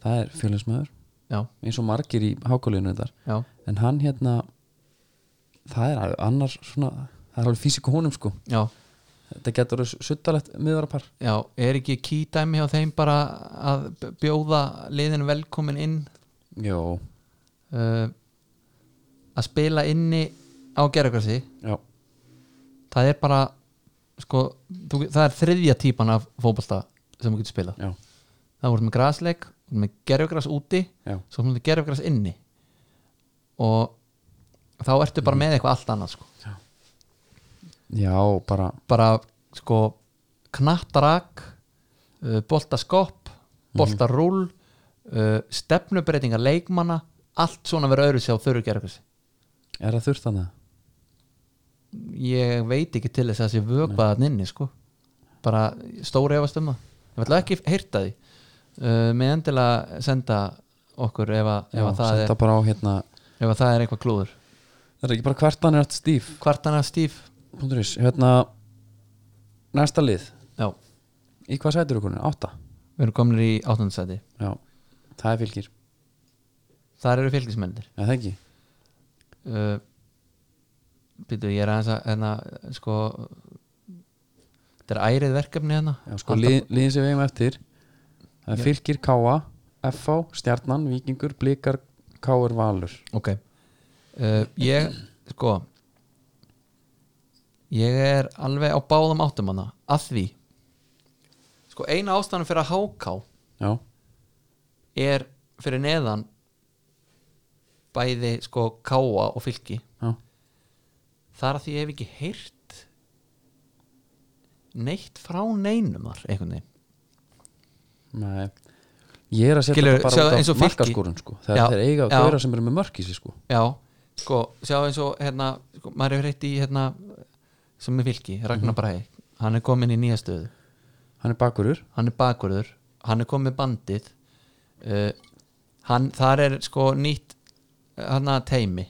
það er fjölinnsmaður
já,
eins og margir í hákálinu þetta
já,
en hann hérna það er alveg annars svona það er alveg físíku honum sko
já
þetta getur verið suttalegt miðvarapar
Já, er ekki kýdæmi á þeim bara að b- bjóða liðin velkomin inn
já,
uh, að spila inni á gerðarkrasi
já,
það er bara sko, þú, það er þriðja típan af fótbolta sem þú getur spilað
já,
það voru með grasleik, þú ert með gerðarkras úti
já.
svo voru með gerðarkras inni og þá ertu bara með eitthvað allt annað sko.
já bara
bara sko knattarak uh, boltaskopp,
Mhm.
boltarúl uh, stefnubreitingar leikmanna allt svona verið öðru sér á þurru gerðarkras
er það þurft hann það?
ég veit ekki til þess að þessi vökvaðan inni sko bara stóri efast um það ég ætla ekki heyrta því uh, með endilega senda okkur ef að, ef
já,
að, það, er,
senda bara á hérna
ef að það er eitthvað klúður
það er ekki bara hvertan er allt stíf
hvartana stíf
Pundurís, hérna næsta lið,
já, við
í hvað sætur okkur? Átta?
erum komin í áttundsæti
Já, það er fylgir
þar eru fylgismennir
eða það ekki?
uh, býtu ég er aðeins að enna, sko þetta er ærið verkefni hérna
Já, sko, lið, liðin sem við eigum eftir það er fylgir Káa, FH, Stjarnan, Víkingur, Blikar Káur, Valur
ok uh, ég sko ég er alveg á báðum áttum hana að því sko eina ástæðan fyrir að háká
Já,
er fyrir neðan bæði sko káa og fylki
já,
það er að því ég hef ekki heyrt neitt frá neinum þar einhvern veginn
nei Ég er að setja
Skilur,
þetta bara
sjáðu, eins
út
og
af
Fylkir-
markaskórun sko. það
Já,
er þeir eiga
já.
gauðra sem eru með mörkísi sko.
já sko, sjá eins og hérna, sko, maður hefur reynt í hérna, sem er fylki, Ragnar Bræði hann er komin í nýja stöðu
hann er bakurur
hann er bakurður, hann er komin með bandið uh, hann, þar er sko nýtt hann að teimi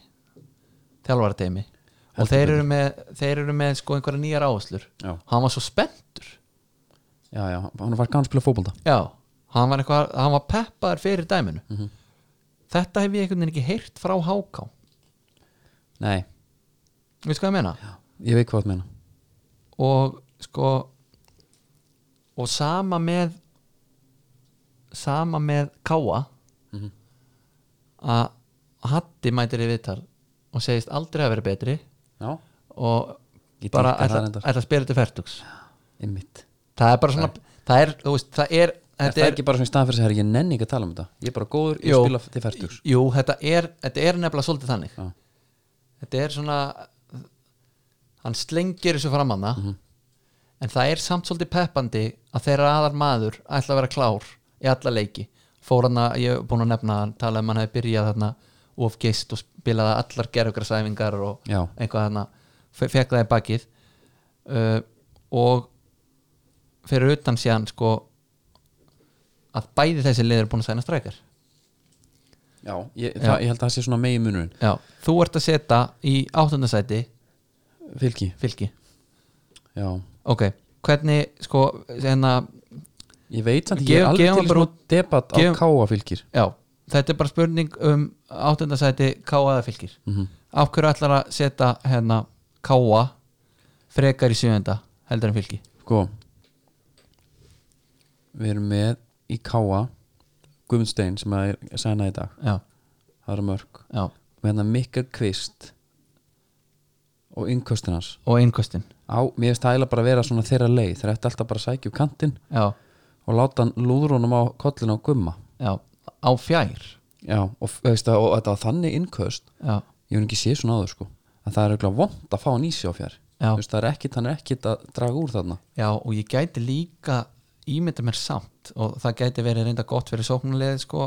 þjálfara teimi og
Heldur
þeir eru, með, þeir eru með sko einhverja nýjar áherslur
Já.
hann var svo spenntur
já, já, hann var gaman að spila fótbolta
Já, hann var, eitthvað, hann var peppaður fyrir dæminu Þetta hef ég einhvern veginn ekki heyrt frá Háká
nei,
Veistu hvað ég meina?
ég veit hvað það meina
Og sko og sama með sama með Káa
Mhm.
að Hatti mætir í viðtal og segist aldrei að vera betri
já,
og
Ég
bara
dýrka það
ætla,
reyndar.
ætla að spila til færtugs
einmitt
Það er bara svona það er, þú veist, það er,
er
þetta
það ekki bara svona í staðan fyrir þess að ég nenni ekki að tala um þetta ég er bara góður, ég
Jó.
spila til færtugs
Jú, þetta er, þetta er nefnilega svolítið þannig
Já.
Þetta er svona hann slengir þessu fram hana en það er samt svolítið peppandi að þeirra aðar maður ætla að vera klár í alla leiki fór hann að, ég hef búin að nefna hann talaði um hann hefði byrjað þarna of geist og spilaði allar gerðugrarsæfingar og
Já.
eitthvað þarna fekk það í bakið uh, og fyrir utan síðan sko að bæði þessi liður er búin að sæna strækjar
já, ég, það, ég held að það sé svona megi munurinn
Já, þú ert að setja í áttundasæti
fylki,
fylki
já
Ok, hvernig sko hérna,
ég veit samt, ég
Gef-
er alveg
gefum
til
bara
svona debatt á
gefum-
káa fylkir
já, þetta er bara spurning um áttundasæti káaða fylkir mm -hmm. Af hverju ætlar að setja hérna káa frekar í sjöunda heldur en fylki
sko við erum með í káa Guðmundstein sem að er sæna í dag
Já,
það eru mörg
já,
með hann Mikka Kvist og innköstin hans
og innkostin
á, mér finnst það eiginlega bara að vera svona þeirra leið þeir ætti alltaf bara að sækja um kantinn
Já,
og láta hann lúðrunum á kollinu á gumma
já, á fjær
já, og, veist, að, og þetta var þannig innköst
Já,
ég hef ekki séð svona áður sko en það er eitthvað vond að fá hann í sig á fjær
Já.
Þú veist, það er ekkit, hann er ekkit að draga úr þarna
já, og ég gæti líka ímynda mér samt og það gæti verið reynda gott fyrir sóknulegð sko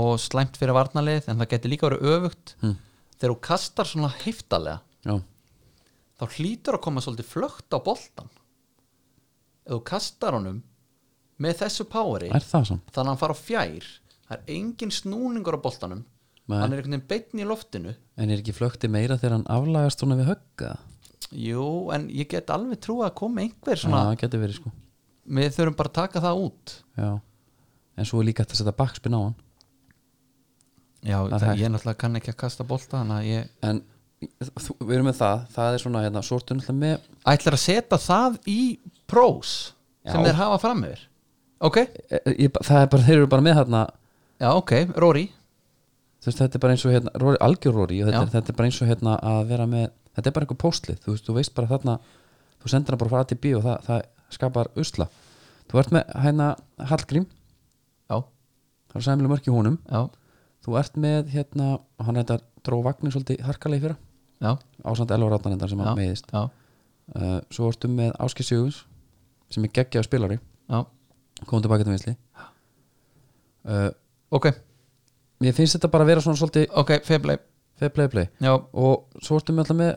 og slæmt fyrir varnarlegð en það gæti líka verið öfugt
hm.
þegar þú kastar svona heiftalega
já,
þá hlýtur að koma svolítið flögt á boltan ef þú kastar honum með þessu poweri
er það samt
þannig að hann fara á fjær það er engin snúningur á boltanum
Nei.
hann er einhvern veginn beinn í loftinu
en er ekki flökti meira þegar hann aflagast svona við högga
jú, en ég get alveg trú að koma einhver
svona,
svona
það getur verið sko
við þurfum bara að taka það út
já. en svo er líka hægt að setja bakspinn á hann
já,
Það er
það,
hægt.
ég náttúrulega kann ekki að kasta bolta þannig að ég
en þú, við erum með það það er svona hérna, sortu náttúrulega með
ætlar að setja það í prós sem
Já.
þeir hafa fram yfir ok,
ég, e, ég, það er bara, þeir eru bara með hérna
já ok, Rory
þú veist, þetta er bara eins og hérna, Rory, algjör Rory og þetta, er,
Já.
þetta er bara eins og hérna að vera með þetta er bara einhver póstlið, þú veist, þú veist bara þarna þú sendir hann bara frá ATB og það, það skapar usla, þú ert með hérna Hallgrím,
já,
það er sæmilu mörk í honum
já,
þú ert með hérna, hann reyndar dró vagnin svolítið harkalegi fyrra
já,
ásand Elvar Áttan reyndar sem
já,
hann meiðist
já,
uh, svo ertu með Áski Sigurðs sem er geggjaður spilari,
já.
komum tilbaka til vinsli uh,
ok,
mér finnst þetta bara að vera svona svolítið
ok, feblei
fair play play
já,
og svo ertu með alltaf með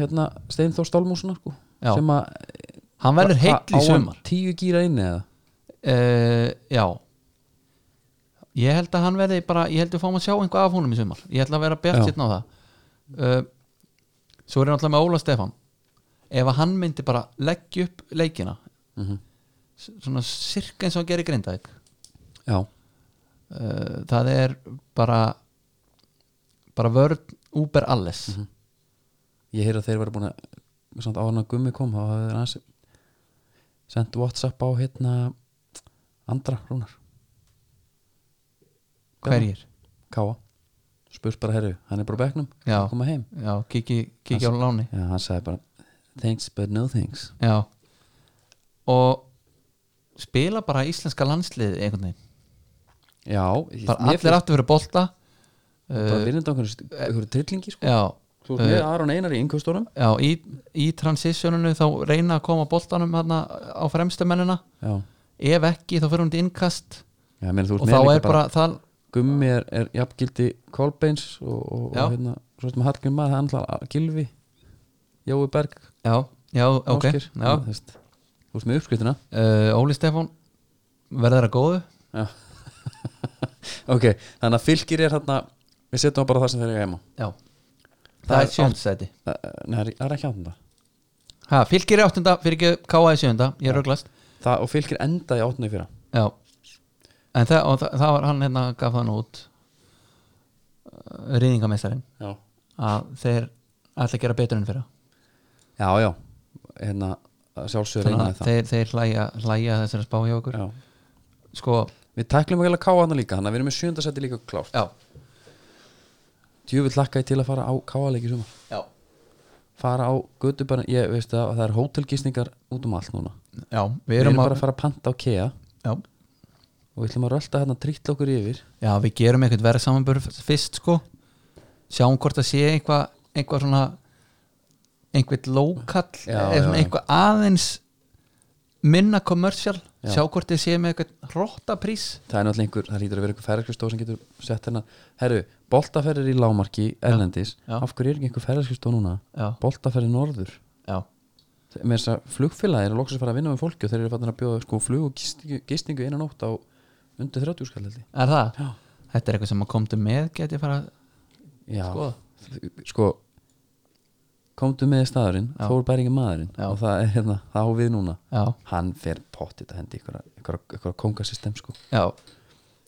hérna, Steinþór Stálmúsuna sko,
Já.
sem að
hann verður heill
á
í
hann
sumar
tíu gíra inni eða
uh, já ég held að hann verði bara ég held að fáum að sjá einhvað af honum í sumar ég held að vera bjart
Já.
sérna á það uh, svo er ég náttúrulega með Óla Stefán ef að hann myndi bara leggja upp leikina Mhm. s- svona sirka eins og hann gerir grindaðik
já,
uh, það er bara bara vörð úber alles
Mhm. ég heyri að þeir verið búin að samt áðan að gummi kom þá hafði þeir aðeins sendt Whatsapp á hérna Andra Rúnar
hverjir?
Káa spurt bara herru, hann er bara á bekknum
Já.
hann koma heim
Já, kiki, kiki á láni
já, hann sagði bara thanks but no thanks
Já og spila bara íslenska landslið einhvern veginn,
já, ég-
bara
mér
allir
finnst
aftur fyrir bolta
bara
uh,
vinnandi okkur ykkur trillingi sko
já,
þú veist með
eh,
Aron Einar í yngustórum
já í, í transitioninu þá reyna að koma boltanum hana á fremstu mennina
já,
ef ekki þá fyrir hún til innkast
já meni, þú
og
ert
þá
með
er
líka bara
bara, það
Gummi er, er jafngildi Kolbeins og, og,
Já.
og hérna, svo erum við Hallgjum maður, það er alltaf Gilvi Jói Berg,
já, já, ok
Ásgeir
já.
þú veist, þú veist með uppskriftina Eh,
Uh, Óli Stefán verður að góðu
Já. ok, þannig að fylgir er þarna við setjum það bara það sem þeir eru heima
já, það,
Það er
er sjöndstæti
Það- Nei, það er- það er ekki átunda
ha, fylgir í áttunda, fyrir ekki káa í sjönda ég er röglast
það, og fylgir endaði átunda í fyrra
já. en það, og það, það var hann hérna gaf þann út rýðingamestarin
já,
að þeir ætla að gera betur enn fyrir
já, já. hérna sjálfsögur
þannig
reynaði
að
það
þeir, þeir hlæja, hlæja þessari spá hjá okkur
já.
sko,
við tæklum ekki að káa þarna líka þannig að við erum með sjöndasetti líka klárt
já,
djúvill lakkaði til að fara á káaleiki sumar
já
fara á götu bara, ég veist það, það er hótelgisningar út um allt núna
já, við
við
erum
erum
að
bara að fara að panta á KEA
já,
og við ætlum að rölda hérna trýtla okkur yfir
já, við gerum eitthvað verið samanbörð fyrst sko sjáum hvort að sé eitthvað eitthvað svona einhvern lókall
Já,
eða
já,
svona
já.
eitthvað aðeins minna kommersial
Já.
sjá hvort þið sé með eitthvað hróttaprís
það er náttúrulega einhver, það hlýtur að vera einhver ferðarskristóð sem getur sett hérna, herru, boltaferðir í lámarki erlendis,
Já.
af hverju er ekki einhver ferðarskristóð núna,
já,
boltaferðir norður
já,
Þe- með þess að flugfélagi eru loksins að fara að vinna með fólki og þeir eru fannir að bjóða sko flug og gistingu, gistingu innan ótt á undir 30 skall held ég.
er það?
Já.
þetta er eitthvað sem að komdu með geti fara að
Já,
skoða
sko komdu með staðurinn,
Já.
Þór Bæringi maðurinn
Já.
og það er hérna, það á við núna
já,
hann fer pottit að hendi ykkur, ykkur, ykkur kongasystem sko
já,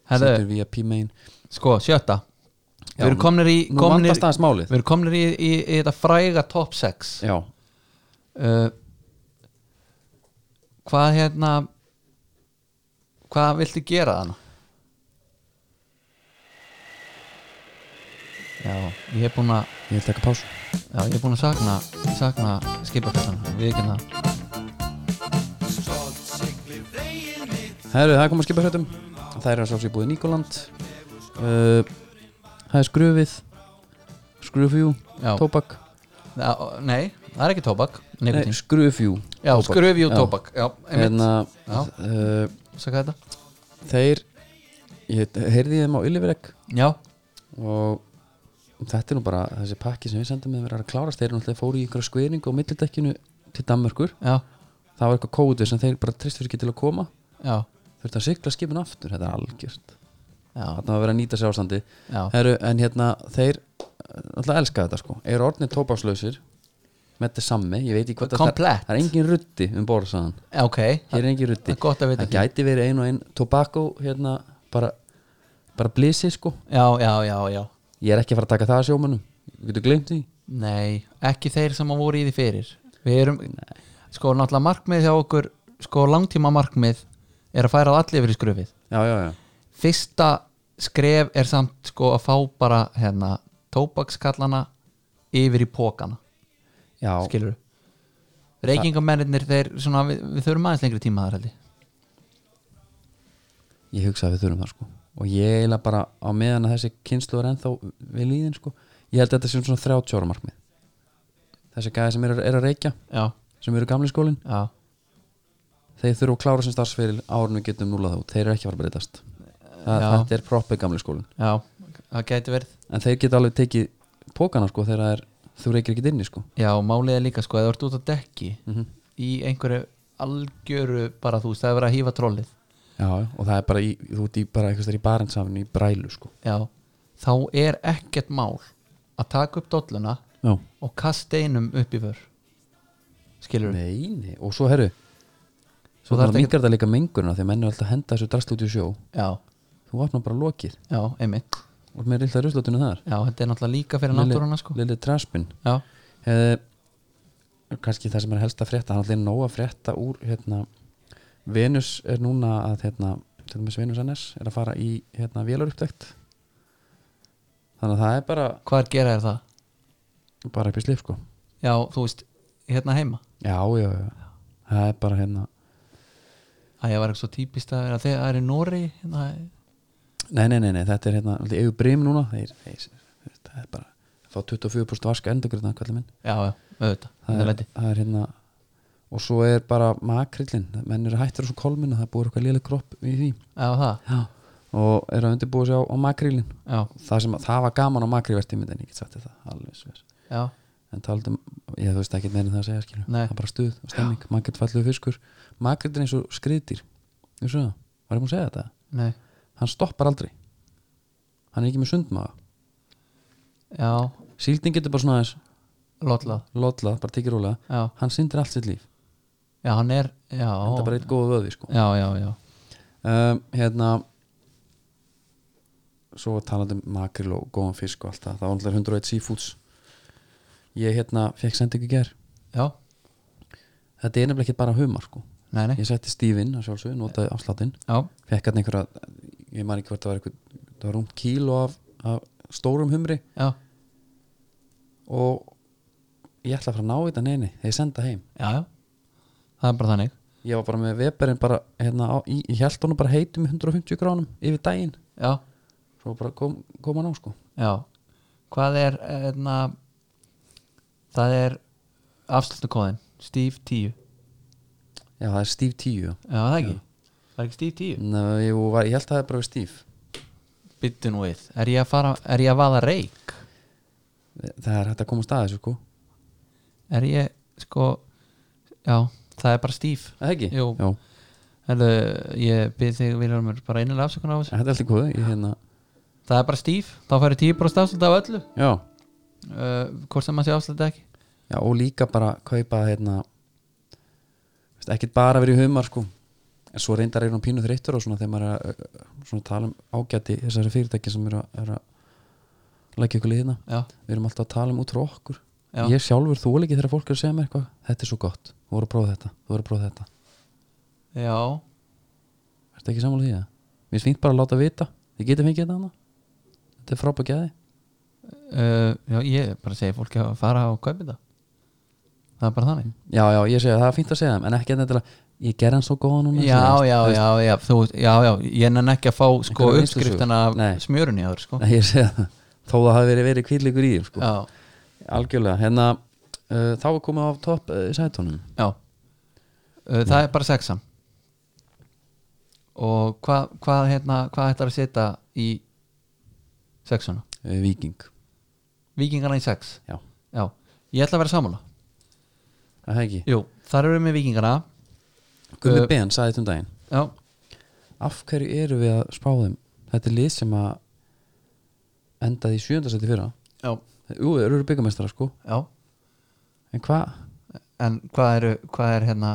herðu
setur við að P-main
Sko, sjötta
Já,
Við erum komnir í,
nú
komnir,
vandast aðeins málið
við erum komnir í, í, í þetta fræga top 6
já,
uh, Hvað hérna Hvað viltu gera þannig? Já, ég hef búin að
ég vil taka pásu
Já, ég hef búin að sakna, sakna skipafættan Við ekki hérna, það
Herru, það er komið að skipa hrettum Það er að sjálfsög búið Nikoland uh, Það er skrufið Skrufjú,
Já,
tóbak
já, nei, það er ekki tóbak
Nei,
Nikotín
skrufjú
Já,
tóbak.
skröfjú
Já.
tóbak Já, einmitt
Hérna,
Já.
uh,
Saka þetta
Þeir Ég heyrði í þeim á Ylliverek
Já,
Og þetta er nú bara þessi pakki sem við sendum með verið að klárast Þeir eru náttúrulega fóru í einhverja skveringu á millidekkinu til Danmörkur
já,
Það var eitthvað kóðið sem þeir bara tristur ekki til að koma
já,
Þurfti að sigla skipin aftur, þetta er algjört
já,
Þarna var verið að nýta sér ástandi
já.
Heru, en hérna, þeir alltaf elska þetta sko, eru orðnir tópáslausir með þetta sammi, ég veit ekki hvað það
Komplett.
það er engin rutti um borð saðan
Já, ok
hér er engin rutti,
Það er gott að vita
það gæti verið ein og ein tobacco hérna, bara bara blísi sko,
Já, já, já, já
ég er ekki að fara að taka það að sjómanum við getum gleymt því
Nei, ekki þeir sem að voru í því fyrir Við erum, sko náttúrulega markmið hjá okkur Sko langtíma markmið er að færa allir yfir í skröfið
já, já, já,
Fyrsta skref er samt sko að fá bara hérna Tóbakskallana yfir í pókana
já,
Skilur Reykingamennir þeir svona við, við þurfum aðeins lengri tíma þar heldig
ég hugsa að við þurfum það sko og ég eiginlega bara á meðan að þessi kynslu er ennþá við líðin sko ég held að þetta sem svona 30 ára markmið þessi gæði sem eru er að reykja
Já,
sem eru gamli skólin
já
þeir þurfa að klára sem starfsferil árun við getum núlað út, þeir eru ekki að fara að breytast það,
Já.
þetta er proppi gamli skólin
Já, það gæti verið
en þeir geta alveg tekið pókana sko þegar það er, þú reykir ekki inni sko
Já, málið er líka sko, eða þú ert út á dekki
Mhm.
í einhverju algjöru bara þú veist, það er verið að hýfa trollið
já, já, og það er bara, í, þú ert í bara eitthvað í barendsafinu í brælu sko
Já, þá er ekkert mál að taka upp dolluna
já.
og kasta einum upp í vör Skilur við?
nei, nei, og svo herru svo
Svo þarf
það mingar það líka mengurina þegar menn er alltaf að henda þessu drast út í sjó
Já,
þú opnar bara lokið
já, einmitt
og með rillta ruslatunni þar
Já, þetta er náttúrulega líka fyrir
Lilli-
náttúruna sko
Lilli traspin
Já,
Eh, kannski það sem er helst að frétta hann allir nóg að frétta úr hérna, Venus er núna að hérna, til dæmis Venus NS er að fara í hérna, vélaruppdækt þannig að það er bara
hvað er gera þér það?
bara upp í slip sko
Já, þú veist, hérna heima
já, já, já, það er bara hérna
Æ, ég var ekki svo típist að vera þegar það er í Nóri hérna,
nei, nei, nei, nei þetta er hérna allir eigu brim núna þeir, þeir, það er bara fá 24% vaska endurgrunna kallið minn
Já, já, auðvitað,
það
þetta
er,
leiti
það er hérna og svo er bara makrillin menn eru hættir á svo kolminu það er búið eitthvað léleg kropp í því
Já, það,
Já, og er að undirbúa sig á, á makrílin
já,
það, sem, það var gaman á makrílvertímyndin ég get sagt þér það alveg sver
já,
en talandi um, ég þú veist ekki meira en það að segja skilur
Nei.
það er bara stuð og stemming, makrit fallegur fiskur makrit er eins og skriðdýr þú veist það, var ég múin að segja þetta
nei
hann stoppar aldrei hann er ekki með sundmaga
já,
síldin getur bara svona aðeins
lotlað
lotlað, bara tekið rólega
já,
hann syndir allt sitt líf,
já, hann er já,
þetta er bara eitt góða vöði sko.
já, já, já,
um, hérna svo talandi um makril og góðan fisk og allt það, það var alltaf 101 seafoods ég hérna fekk sendingu í ger
já
þetta er nefnilega ekki bara humar sko
nei, nei,
ég setti stífinn að sjálfsög, notaði afsláttinn
já,
fekk hann einhverja, ég man ekki hvort það var einhver, það var rúmt kíló af, af stórum humri
já,
og ég ætla að fara að ná þetta neini þegar ég senda heim
já, já það er bara þannig
ég var bara með veberinn bara hérna, á, í, ég held honum bara heitum í 150 gránum yfir daginn
já,
svo bara kom, kom hann á sko
já, hvað er hérna, það er afslutukóðin Steve 10, já,
já það er stíf 10
það er ekki það er ekki Steve 10
Nei, ég, var, ég held að það er bara við stíf
Bittu nú við, er ég að fara er ég að vaða reik
það er hægt að koma staðið sko
er ég sko já, það er bara stíf
Er það ekki?
Jú.
Já.
Herðu, ég byrði þig Viljómur bara einilega afsökun á þessu
Þetta er alltaf góð ég, hérna,
það er bara stíf, þá færi 10% afslut af öllu
já.
uh, hvort sem maður sé afslut eða ekki
já og líka bara kaupa hérna veist, ekkert bara verið í humar sko en svo reyndar er hann pínu þreyttur og svona þegar maður er að ö, ö, svona tala um ágæti þessari fyrirtæki sem eru að, er að leggja ykkur liðina
já,
við erum alltaf að tala um út frá okkur
já,
ég sjálfur þú ekki þegar fólk er að segja mér eitthvað þetta er svo gott, þú voru að prófa þetta þú voru að prófa þetta,
já,
ertu ekki sammála því að mér finnst fínt bara að láta vita, þið getið fengið þetta annað þetta er frábæk gæði
uh, já ég bara segi fólki að fara og kaupi þetta það er bara þannig
já, já, ég segja, það er fínt að segja þeim en ekki endilega, ég ger hann svo góða núna
já,
þú veist,
já,
þú veist.
já, já, þú, já, já ég nenn ekki að fá sko
Einhverja reynslusögu?
uppskriftina af
Nei.
smjörunni áður sko
Nei, ég segja það, þó það hafi verið verið kvíðleikur í þeim sko.
já,
algjörlega, hérna uh, þá er komið á topp uh, sætunum
já uh, það er bara sexan og hvað hvað hérna, hvað ætlar að setja í sexuna?
uh, Viking,
Víkingarna í sex?
Já.
já, ég ætla að vera sammála
Er það ekki
Jú, þar eru við með vikingarna
Gummi
Uh,
Ben sagði þetta um daginn
Já,
af hverju eru við að spá þeim þetta er lið sem að endaði í sjöndasæti fyrra
já,
Jú, þeir eru byggamestara sko
já
En hvað
En hvað eru, hvað er hérna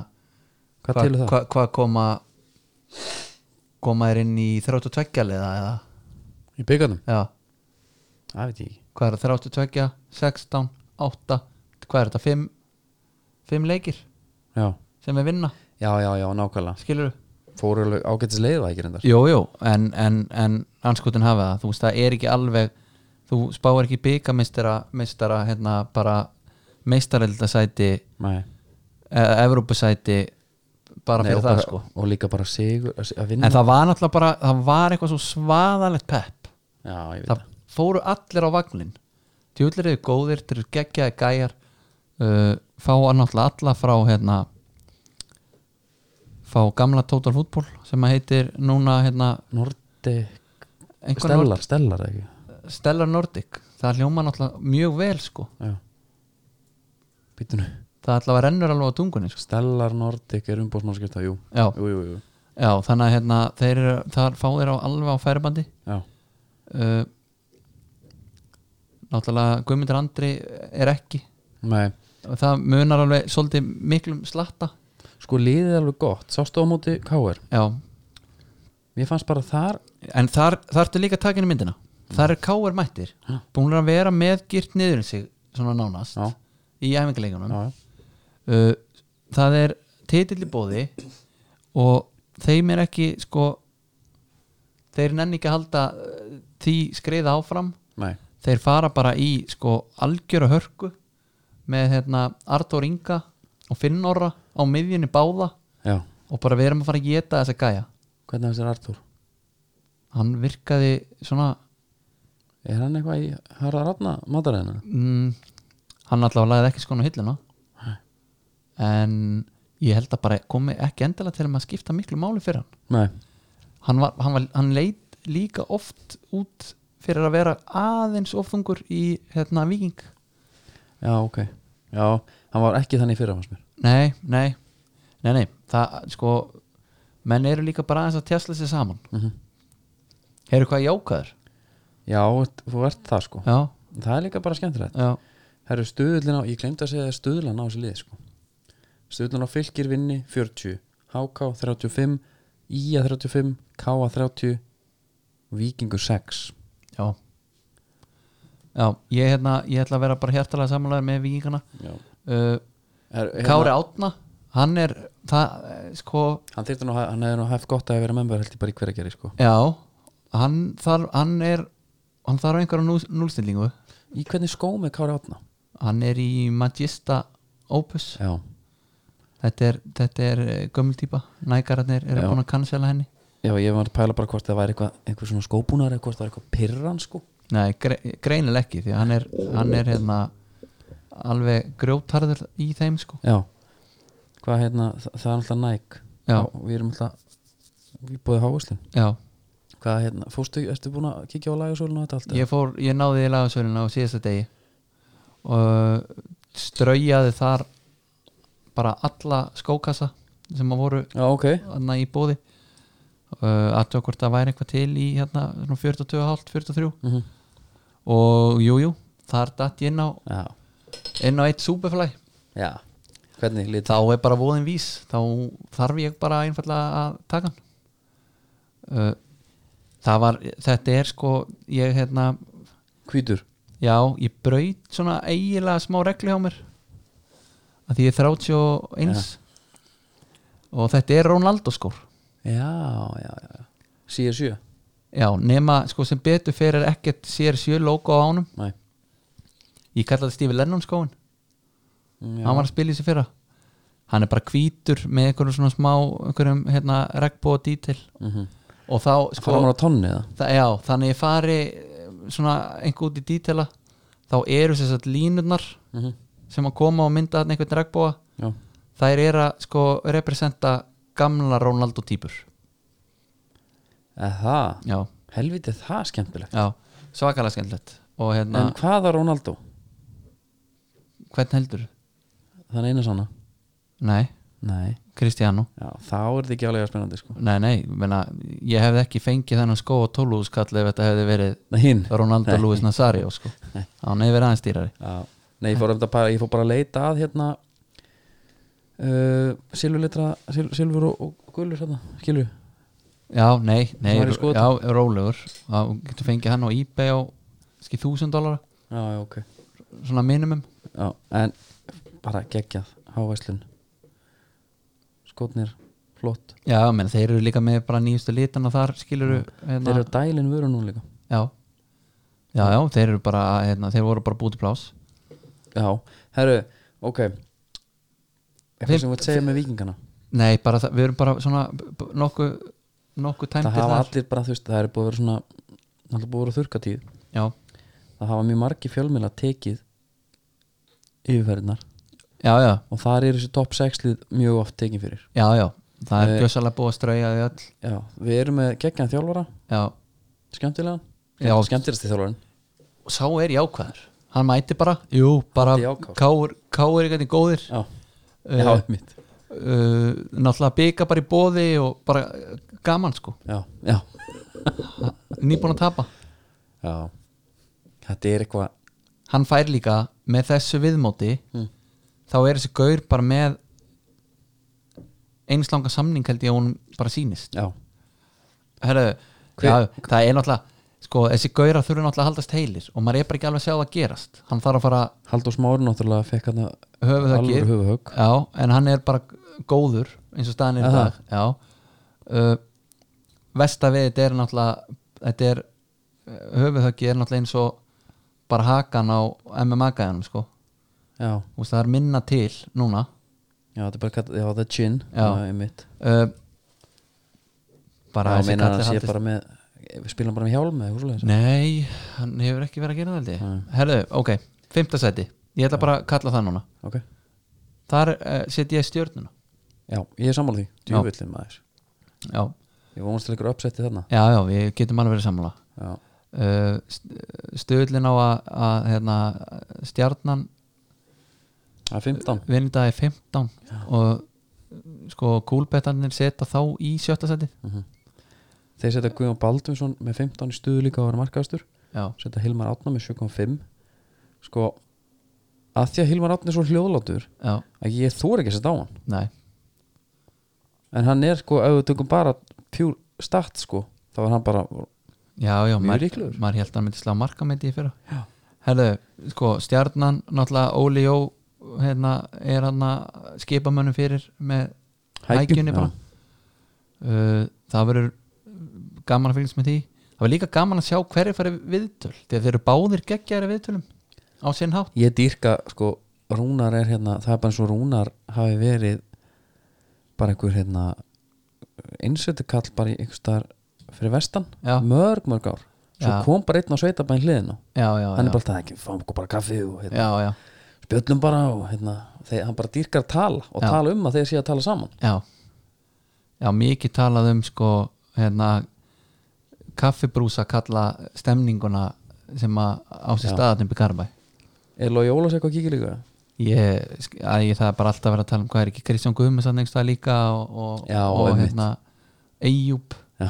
hva til það?
Hvað hva koma koma þér inn í 32 liða eða
Í byggarnum?
Já,
Það veit ég ekki
hvað er 32, 16, 8 Hvað er þetta, 5 5 leikir
Já,
sem við vinna,
já, já, já nákvæmlega
skilur við
Fóru alveg ágætis leið það ekki reyndar
Jú, jú, en, en, en anskutin hafa það, þú veist það er ekki alveg þú spáir ekki byggamistara mistara, hérna bara meistarildasæti
Nei,
eða Evrópusæti bara
Nei,
fyrir
og
það sko
Og líka bara sigur að að vinna
en það var náttúrulega bara, það var eitthvað svo svaðalegt pepp
Já, ég veit
það
það
fóru allir á vagnlinn djúlir eru góðir, þeir eru geggjaði gæjar uh, fá að náttúrulega alla frá hérna fá gamla Total Football sem að heitir núna hérna
Nordi
einhver
Stellar, Stellar ekki
Nord- Stellar Nordic það hljóma náttúrulega mjög vel sko
Já Býtu nú
það allavega rennur alveg á tungunni sko.
Stellar Nordic er umbóðsmannskipta, jú
já,
Jú, jú, jú
já, þannig að hérna þeir eru, það fá þeir á alveg á færibandi
Já,
uh, náttúrulega Guðmundur Andri er ekki
nei
og það munar alveg svolítið miklum slatta
Sko liðið er alveg gott, sástu á móti KR
já,
Mér fannst bara þar
en þar, þar ertu líka takinu myndina þar er K.R. mættir búin að vera með gyrt niður um sig svona nánast
Já,
í æfingarleikunum
já, já
uh, það er titill í bóði og þeim er ekki sko þeir nenni ekki að halda uh, því skreiða áfram
Nei,
þeir fara bara í sko algjöra hörku með hérna Artur Inga og Finnorra á miðjunni báða
já
og bara við erum að fara að geta þessa gæja
Hvernig hans er Artur?
hann virkaði svona
Er hann eitthvað í Harða Rána mataræðina?
mm, hann allavega lagði ekki skonu hilluna en ég held að bara komi ekki endilega til að maður skipta miklu máli fyrir hann
Nei,
hann, var, hann, var, hann leit líka oft út fyrir að vera aðeins ofþungur í hérna viking
já, ok já, hann var ekki þannig í fyrra fannst mér
nei, nei, nei, nei það sko, menn eru líka bara aðeins að tjastla sér saman
mm
eru hvað jákaður
já, þú ert það sko
já,
það er líka bara skemmtilegt
já,
það eru stuðlina, ég glemt að segja það er stuðlana á þessi lið sko stuðlana á fylgir vinni 40 HK 35, IA 35 KA 30 Víkingur 6
já já, ég, hérna, ég ætla að vera bara hjartalega samanlegar með vikingana
já.
uh,
Er,
Kári Átna hann er, það, eh, sko
hann þyrfti nú, hann hefði nú haft gott að vera member held ég bara í hverja geri sko
já, hann þarf hann er, hann þarf einhverja núl, núlstillingu
í hvernig skóm er Kári Átna
hann er í Magista Opus
já,
þetta er, þetta er eh, gömul típa nægararnir eru
Já.
búin að cancela henni
já, ég var að pæla bara hvort það væri eitthvað einhver svona skóbúnar eða hvort það var eitthvað pirran sko
nei, gre greinileg ekki því að hann er, hann er hérna alveg grjótarður í þeim sko
já, hvað hérna það, það er alltaf næk
Já.
við erum alltaf við búið háðuslun
já,
hvað hérna, fórstu, ertu búin að kíkja á lagasólinu og þetta allt
ég fór, ég náði í lagasölinu á síðasta degi og straujaði þar bara alla skókassa sem að voru
já, ok,
hérna í bóði uh, að hvort það væri eitthvað til í hérna svona 42,5, 43
mm
og jújú, jú, þar datt ég inn á
já,
inn á eitt Superfly
já hvernig lít
þá er bara voðin vís þá þarf ég bara einfallega að taka hann uh, það var, þetta er sko ég hérna,
hvítur,
já, ég braut svona eiginlega smá regli á mér að því ég er 31 og þetta er Ronaldo skór
já, já, já já. CR7,
já, nema sko sem betur fyrir ekkert CR7 logo á ánum
næ
ég kalla þetta Steve Lennon skóin
já,
hann var að spila í sig fyrra hann er bara hvítur með einhverjum svona smá einhverjum hérna regnbóa dítil
mm -hmm.
og þá
fara
sko,
maður á tonni eða
það, já, þannig ég fari eh, svona einhver út í dítila þá eru þess að línurnar
mm -hmm.
sem að koma og mynda þarna einhvern regnbóa
já,
þær eru að sko representa gamla Ronaldo týpur
eða það
já,
helviti er það skemmtilegt
já, svakalega skemmtilegt og hérna,
en hvað er Ronaldo,
hvern heldur?
þann eina svona
nei,
nei,
Cristiano
já, þá er þetta ekki alveg spennandi sko
nei, nei, ég meina, ég hefði ekki fengið þennan skó og tólúðskall ef þetta hefði verið
Nei, hinn,
Ronaldo Luis Nazario sko. hann hefur verið aðeins dýrari
Já, nei, ég fór, um bara, ég fór bara að leita að hérna uh, silfurlitra sil, silfur og, og gulur hérna, skilur
já, nei, nei
Sem var í skoti.
já, rólegur þá getur fengið hann á ebay á skil þúsund dólara
já, já, ok
svona minimum
já, en bara geggjað, hávæslun skotnir, flott
já, menn þeir eru líka með bara nýjustu litana þar skilur
þeir
hérna,
eru dælin vöru nú líka
já. já, já, þeir eru bara hérna, þeir voru bara búti plás
já, herru, ok
Þeim-
eitthvað sem þú ert segja með vikingana
nei, bara það, við erum bara svona b- b- nokku nokku
það
tæmdir
hafa
þar
allir bara, þú veist, það er búið að vera svona það er búið að vera þurrkatíð
já,
það hafa mjög margi fjölmjöla tekið yfirferðinar
já, já,
og þar eru þessi topp 6 lið mjög oft tekin fyrir
já, já það
Eh.
er gjössalega búið að strauja því öll
já, við erum með geggjan þjálfara
já,
skemmtilega,
Já.
skemmtilegasti þjálfarin
og sá er jákvæður hann mæti bara, jú, bara
Hann er jákvæður.
káur, káur eitthvað góðir
já, já,
uh,
mitt
uh, náttúrulega byggja bara í bóði og bara uh, gaman sko
já, já,
nýbúin að tapa
já þetta er eitthvað
hann fær líka með þessu viðmóti
Mm.
þá er þessi gaur bara með einslanga samning held ég að hún bara sýnist
já,
Herðu,
Hver-
já, það er náttúrulega sko, þessi gaurar þurfa náttúrulega að haldast heilir og maður er bara ekki alveg að sjá það gerast hann þarf að fara
Haldur Smári náttúrulega fekk hann
höfuð það
alveg höfuhögg
já, en hann er bara góður eins og staðan er í
Aha.
dag já. Uh, Vesta við þetta er náttúrulega þetta er höfuðhöggi er náttúrulega eins og bara hakan á MMA gæðanum sko
já,
Þú veist, það er minna til núna
já, þetta er bara kall, já, það er chin
Já.
mitt
uh, bara
bara já,
þessi
meina
kalli
hann sé
haldist-
bara með við spilum bara með hjálm eða eitthvað svoleiðis.
nei, hann hefur ekki verið að gera það held
Nei.
ég herðu, ok, fimmta seti ég ætla bara að kalla það núna
ok,
þar uh, set ég stjórnuna
já, ég er sammála því
Já.
djúvillin maður
já
ég vonast til ykkur uppsetti þarna
já, já, við getum alveg verið sammála
já,
uh, st- stöðlin á að, að hérna, stjarnan
það er 15
vinni það í 15 og sko kúlbettarnir setja þá í sjötta seti
Mhm. þeir setja Guðjón Baldunsson með 15 í stuðu líka og var markaðastur
já,
setja Hilmar Átna með 7,5 sko að því að Hilmar Átna er svo hljóðlátur
já,
að ég þóra ekki að setja á hann
nei
en hann er sko, ef við tökum bara pjúr start sko, þá er hann bara
Já, já,
Mjög
maður
líklegur.
maður held að hann myndi slá markamæti í fyrra
Já.
Herðu, sko, stjarnan náttúrulega Óli Jó hérna, er hann að skipa mönnum fyrir með hækjunni bara uh, það verður gaman að fylgjast með því það verður líka gaman að sjá hverju fari viðtöl því að þeir eru báðir geggjæri viðtölum á sinn hátt
ég dýrka sko Rúnar er hérna, það er bara eins og Rúnar hafi verið bara einhver hérna einsötu kall bara í einhver staðar fyrir vestan,
Já.
mörg mörg ár svo
Já.
kom bara einn á sveitabæn hliðinu
já, já,
hann er
já,
bara það ekki, fáum okkur bara kaffi og hérna,
já, já,
spjöllum bara og hérna, þeir, hann bara dýrkar að tala og
Já.
tala um að þeir sé að tala saman
já já, mikið talað um sko hérna kaffibrúsa kalla stemninguna sem að á sér
Já.
staðatnum byggarbæ
er Lói Ólas eitthvað að kíkja líka?
ég, sk- að ég það er bara alltaf að vera að tala um hvað er ekki Kristján Guðmunds hann einhverstað líka og, og,
Já,
og
einmitt.
hérna Eyjúb
Já.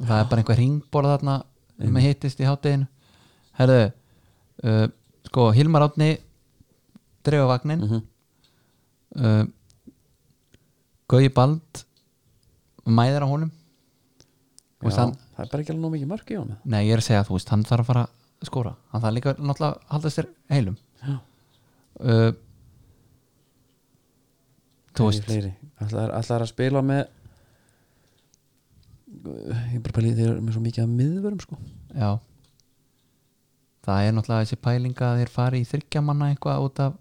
það er bara einhver ringborð þarna með hittist í hátteginu herðu uh, sko Hilmar Átni drefa vagnin
Mhm.
uh, Gauji Bald mæðir á honum
Já,
Þú veist, hann,
það er bara ekki alveg nóg mikið mörg í honum
nei ég er að segja þú veist hann þarf að fara að skora hann þarf líka náttúrulega að halda sér heilum
Já.
uh, þú
Nei,
veist
fleiri. Ætlar, ætlar að spila með ég er bara pælið þeir eru með svo mikið að miðvörum sko
Já Það er náttúrulega þessi pælinga að þeir fari í þryggjamanna eitthvað út af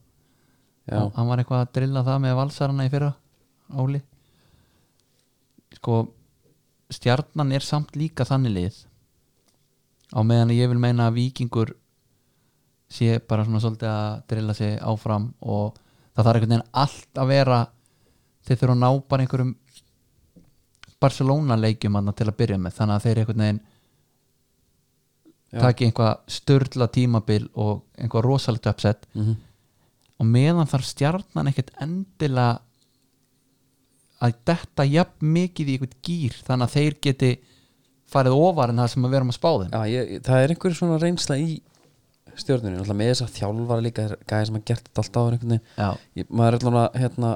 Já,
hann var eitthvað að drilla það með valsarana í fyrra Óli Sko stjarnan er samt líka þannig lið á meðan að ég vil meina að vikingur sé bara svona svolítið að drilla sig áfram og það þarf einhvern veginn allt að vera þeir þurfa að ná bara einhverjum Barcelona leikjum hann til að byrja með þannig að þeir einhvern veginn
Já.
taki einhvað störla tímabil og einhvað rosalegt uppsett
Mhm.
og meðan þarf stjarnan ekkert endilega að detta jafn mikið í einhvern gýr þannig að þeir geti farið ofar en það sem við erum að spá þeim
Já, ég, það er einhver svona reynsla í stjórnunni, náttúrulega með þess að þjálfara líka er gæði sem að gert þetta alltaf áður einhvern veginn
Já,
Ég- maður er allan að hérna,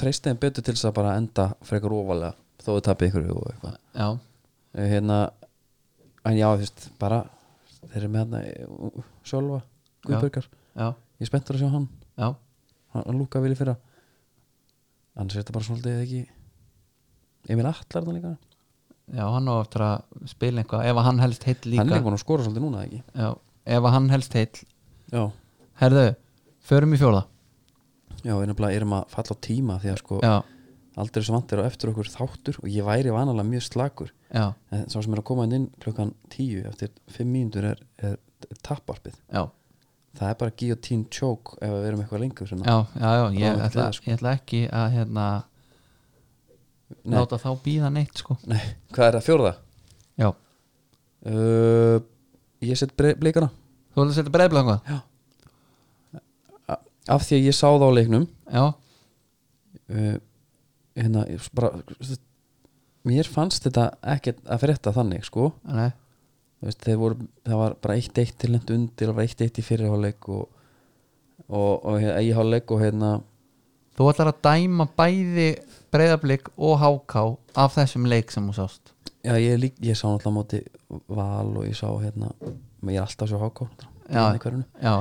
treysti þeim betur til þess að bara enda frekar ofalega þó þau tapir ykkur og eitthvað
já,
Eh, hérna, en já, þú veist, bara þeir eru með hérna eh, sjálfa Guðbjörgar,
já,
ég er spenntur að sjá hann
já
hann, hann lúka vilja fyrra annars er þetta bara svolítið ekki Emil Atlar þannig líka
Já, hann á eftir að spila einhvað ef að hann helst heill líka
hann er líka búin að skora svolítið núna ekki
já, ef að hann helst heill
já,
Herðu, förum í fjóla
já, við nefnilega erum að falla á tíma því að sko
Já,
aldrei svo vantir á eftir okkur þáttur og ég væri vanalega mjög slakur
já,
en Eh, sá sem er að koma hérna inn, inn klukkan 10 eftir 5 mínútur er, er, er tapparpið
já
það er bara guillotine choke ef við erum eitthvað lengur hérna. svona.
já, já, já,
Það
ég,
var
ætla,
gleði, sko.
ég ætla ekki að hérna,
Nei.
láta þá býða neitt sko.
Nei, hvað er það, fjórða?
já.
Uh, ég set bre- blikana
þú ætla að setja breiðblanga
af því að ég sá það á leiknum
já,
uh, hérna, ég bara mér fannst þetta ekkert að frétta þannig sko
nei,
Þú veist, þeir voru, það var bara 1-1 til lent undir það var 1-1 í fyrirháleik og, og, og hérna, í háleik og hérna
þú ætlar að dæma bæði breiðablik og háká af þessum leik sem þú sást
já, ég, lík, ég sá náttúrulega á móti val og ég sá hérna ég er alltaf svo háká
Já.
uh,
já,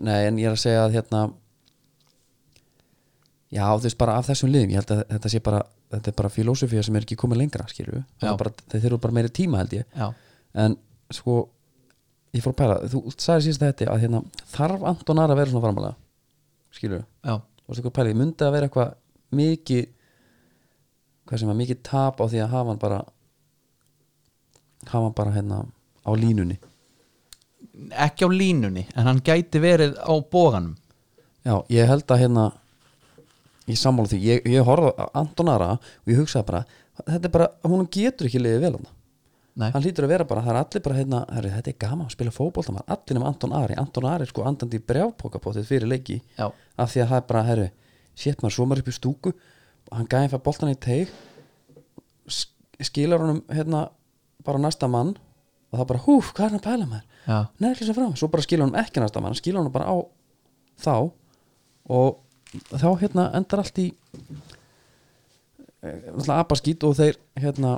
nei, en ég er að segja að hérna já, þú veist bara af þessum liðum ég held að þetta sé bara þetta er bara filósofía sem er ekki komið lengra skilju,
Já.
þeir þurfa bara meiri tíma held ég
já,
en sko ég fór að pæla, þú sagði síðast þetta að hérna, þarf Anton Ara að vera svona framalega skilju,
já,
þú veist eitthvað pæli ég myndi að vera eitthvað mikið hvað sem var mikið tap á því að hafa hann bara hafa hann bara hérna á línunni
ekki á línunni en hann gæti verið á bóganum
já, ég held að hérna ég sammála því, ég, ég horfði á Anton Ara og ég hugsaði bara, þetta er bara, hún getur ekki liðið vel hann
Nei,
hann lítur að vera bara, það er allir bara hérna, herri, þetta er gaman að spila fótbolta maður, allir nema Anton Ari Anton Ari er sko andandi í brjápokapótið fyrir leiki
já,
af því að það er bara, herru, sétt maður svo maður upp í stúku, hann gæði fyrir boltan í teig sk- skilar honum hérna bara á næsta mann og það bara, húf, hvað er hann að pæla maður
já,
neðurlýsa fram, svo bara skilur hann ekki næsta mann hann skilur hann bara á þá og þá hérna endar allt í alltaf abaskít og þeir hérna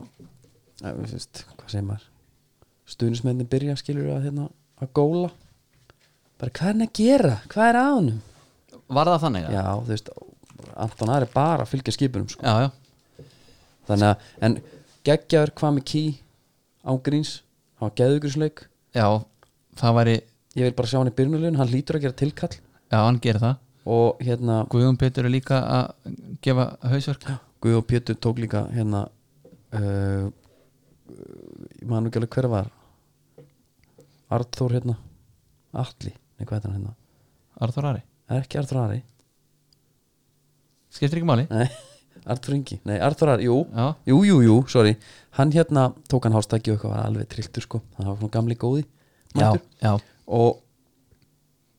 eh, þú veist, hvað segir maður stuðnismennin byrja skilur að hérna að góla bara hvað er hann að gera, hvað er að honum
var það þannig?
já,
eða?
þú veist, Anton Ari er bara að fylgja skipunum sko.
já, já,
þannig að, en geggjaður hvað með ký án gríns hann var geðugrisleik,
já, það væri
ég vil bara sjá hann í byrjunulegin hann lítur að gera tilkall
já, hann gerir það
og hérna
Guðjón Pétur er líka að gefa hausverk
Guð og Pétur tók líka hérna uh, ég man ekki alveg hver var Arthur hérna Atli, nei hvað heitir hann hérna
Arþór Ari,
er ekki Arthur Ari,
skiptir ekki máli
nei Arthur Ingi, nei Arthur Ari, jú
já,
jú, jú, jú, sorry, hann hérna tók hann hástæki og eitthvað var alveg trilltur sko hann var svona gamli góði
já,
mættur.
já,
og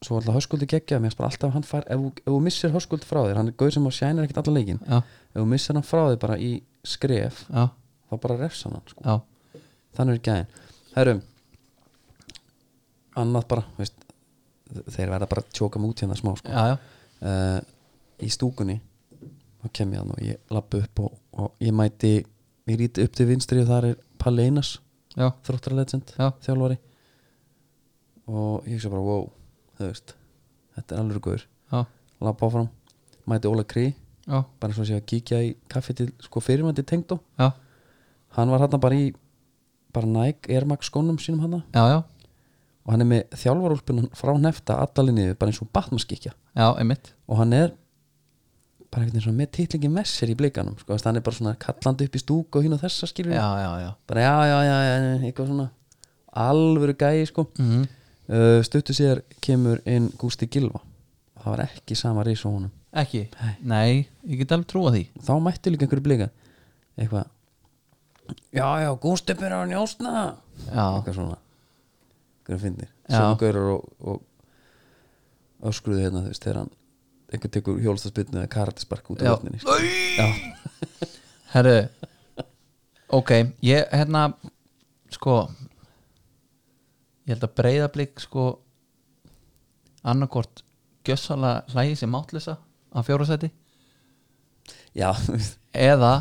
svo alltaf höskuldi geggja mér spara alltaf að hann fær, ef, þú- ef þú missir höskuld frá þér, hann er gauð sem á sjænir ekkert alla leikin
já,
ef þú missir hann frá þér bara í skref
já,
þá bara refs hann sko.
já.
þannig er gæðin herrum annað bara veist, þeir verða bara að tjóka mig út hérna smá sko.
já, já.
uh, í stúkunni þá kem ég hann og ég lappu upp og, og ég mæti, ég ríti upp til vinstri og þar er Palli Einars
já.
þróttara legend,
Já.
þjálfari og ég hugsa bara wow þú veist, þetta er alveg guður
já,
lappa áfram, mæti Óla Krí
já,
bara svo að sé að kíkja í kaffi til sko fyrirmændi tengdó
já,
hann var hérna bara í bara Nike Air Max skónum sínum hann
já, já,
og hann er með þjálfarúlpunan frá nefta allalinniðu bara eins og batmaskikja
já, einmitt
og hann er bara einhvern veginn svona með titlingi messir í blikanum sko, þess að hann er bara svona kallandi upp í stúk og hinn og þessa skilur
já, já, já,
bara já, já, já, já, eitthvað svona alvöru gæi sko
mm.
uh, stuttu síðar kemur inn Gústi Gilva og það var ekki sama reis á honum
ekki, nei, ég get alveg trúa því
þá mættu líka einhverju blika eitthvað já, já, Gústi byrjar að njósna
já,
eitthvað svona einhverjum fyndir
Já.
sömu gaurar og, og öskruðu hérna þú veist þegar hann einhver tekur hjólstaspinnu eða karatispark út á
Já.
vatninni sko. já,
herru ok, ég, hérna sko ég held að breyðablík sko annarkort gjössalega hlægi sem mátlisa á fjórasæti
já, þú veist,
eða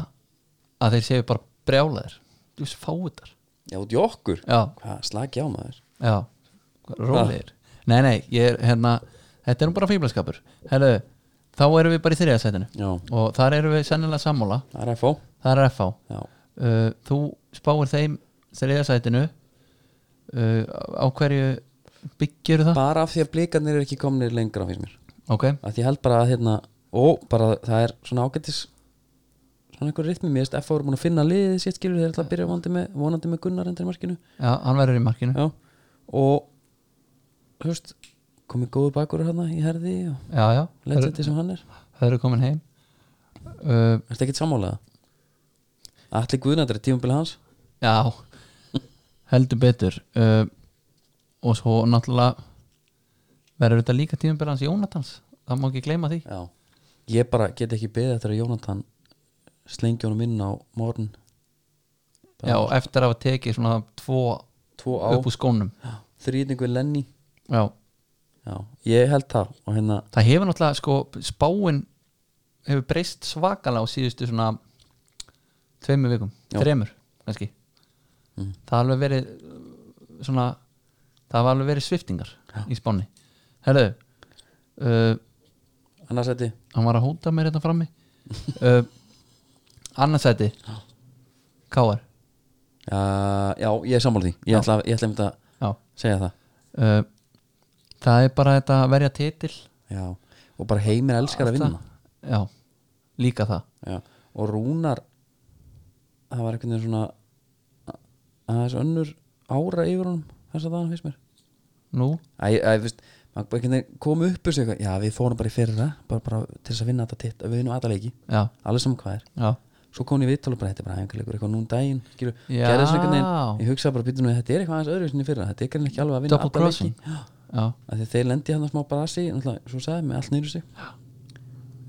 að þeir séu bara brjálaðir þú veist fáutar
já, út í okkur
já,
hvað, slagi á maður
já, rólegir nei, nei, ég er hérna þetta er nú bara fíblaskapur Herðu, þá erum við bara í þriðasætinu
já,
og þar erum við sennilega sammála
það er FO
þar er FH
já,
uh, þú spáir þeim þriðasætinu uh, á hverju byggjur það
bara af því að blikarnir er ekki komnir lengra finnst mér,
ok,
að því ég held bara að hérna, og bara það er svona ágættis svona einhver rytmi, mér veist FO er búin að finna liðið sitt skilur, þeir ætla að byrja vonandi með, vonandi með Gunnar endur í markinu
já, hann verður í markinu já,
já, og þú veist, komið góðu bakur hérna í herði og
já,
legendi sem hann er
það eru komin heim uh,
Er þetta ekkert sammálaða? Allir guðnættur er tímabili hans
Já heldur betur uh, og svo náttúrulega verður þetta líka tímumbil hans Jónatans það má ekki gleyma því
Já Ég bara get ekki beðið eftir að Jónatan slengi honum inn á morgun
Já, og eftir að hafa tekið svona tvo
Tvo á,
upp úr skónum
þrýðning við Lenny
Já,
Já, ég held það og hérna
það hefur náttúrulega sko spáin hefur breyst svakalega á síðustu svona tveimur vikum,
Já.
þremur kannski
Mhm.
það hafa alveg verið uh, svona það hafa alveg verið sviftingar í spáni Herðu uh,
annars þetta
hann var að hóta mér þetta frammi uh, annarsæti K.R.
Já, já ég er sammála því Ég ætla, ég ætla einmitt að
Já.
segja það
Uh, það er bara þetta að verja titil
Já, og bara heimir elskar að vinna
já, líka það
Já, og Rúnar það var einhvern veginn svona aðeins önnur ára yfir honum þess að það finnst mér
nú,
Æ, æ, veist, maður bara einhvern veginn kom upp úr sig eitthvað, já við fórum bara í fyrra bara, bara til þess að vinna þetta titt, við vinnum alla leiki
já,
alveg saman hvað er,
já
svo kom hún í viðtal og bara þetta er bara æfingarleikur eitthvað núna um daginn skilur,
Já.
gerði þessu einhvern veginn, ég hugsa bara býtum við þetta er eitthvað aðeins öðru sinni fyrra, þetta er greinilega ekki alveg að vinna
Double
alla leiki.
crossing.
Já,
já,
af því að þeir lendi hann að smá brasi náttúrulega, svo sagði með allt nýru sig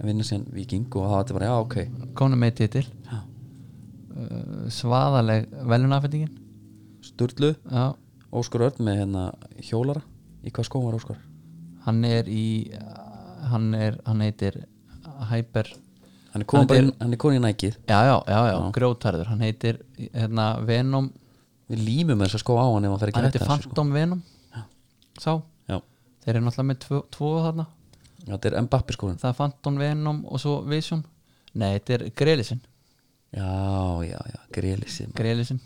að vinna síðan viking og þá var þetta bara já ok
konu með titil
Já.
uh, svaðaleg velunafendingin
Sturlu,
já,
Óskar Örn með hérna hjólara, í hvað skóum var Óskar?
hann er í hann er, hann heitir Hyper,
Hann er komin
Hann
bara
er-
inn, hann er komin í nækið
já já, já, já, grjótarður hann heitir hérna Venom
við límum þess að skó á hann ef hann fer ekki
hann
að
heitir
hætta þessu, sko.
Phantom Venom sá,
Já,
þeir eru náttúrulega með tvo, tvo þarna
Já, þetta er Mbappi skórin
það er Phantom Venom og svo Vision nei, þetta er Grelisinn
Já, já, já, grilisi
Grelisinn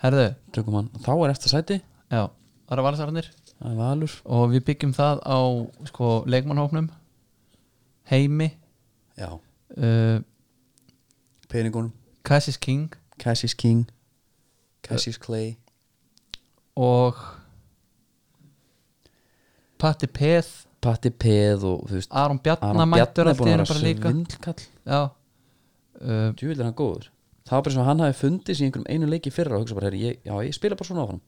herðu,
Tökum hann, þá er eftir sæti
já, það eru valsararnir
Það er Valur,
og við byggjum það á sko, leikmannhóknum Heimi
já,
uh,
peningunum
Cassis King
Cassius King Cassius Clay
og Patti Peth
Patti Peð og þú veist
Aron Bjarnar
Aron
mættur
Bjarni er
allt í
búin
einu
að
bara
vera
líka
svindlkall
já uh,
Djúvill er hann góður Það var bara svo að hann hafi fundið sér í einhverjum einu leiki í fyrra og hugsa bara, herri, ég, já, ég spila bara svona áfram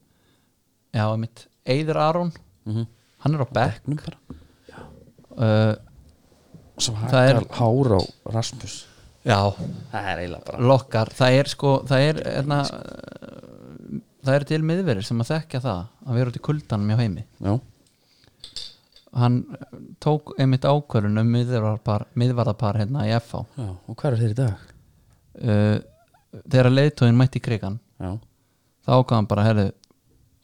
já, mitt Eiður Aron,
mm -hmm.
hann er á Beck
Becknum bara
uh,
Svo
Það er-
hækkar hár á Rasmus
já,
Það er eiginlega bara
lokkar það er sko, það er erna, það eru til miðverir sem að þekkja það að vera út í kuldanum hjá heimi
Já,
hann eh, tók einmitt ákvörun um miðvarðarpar, miðvarðarpar hérna í FH
já, og hvað er þeir í dag?
uh, þegar leiðtóin mætti í krigan
Já,
þá ákvað hann bara herðu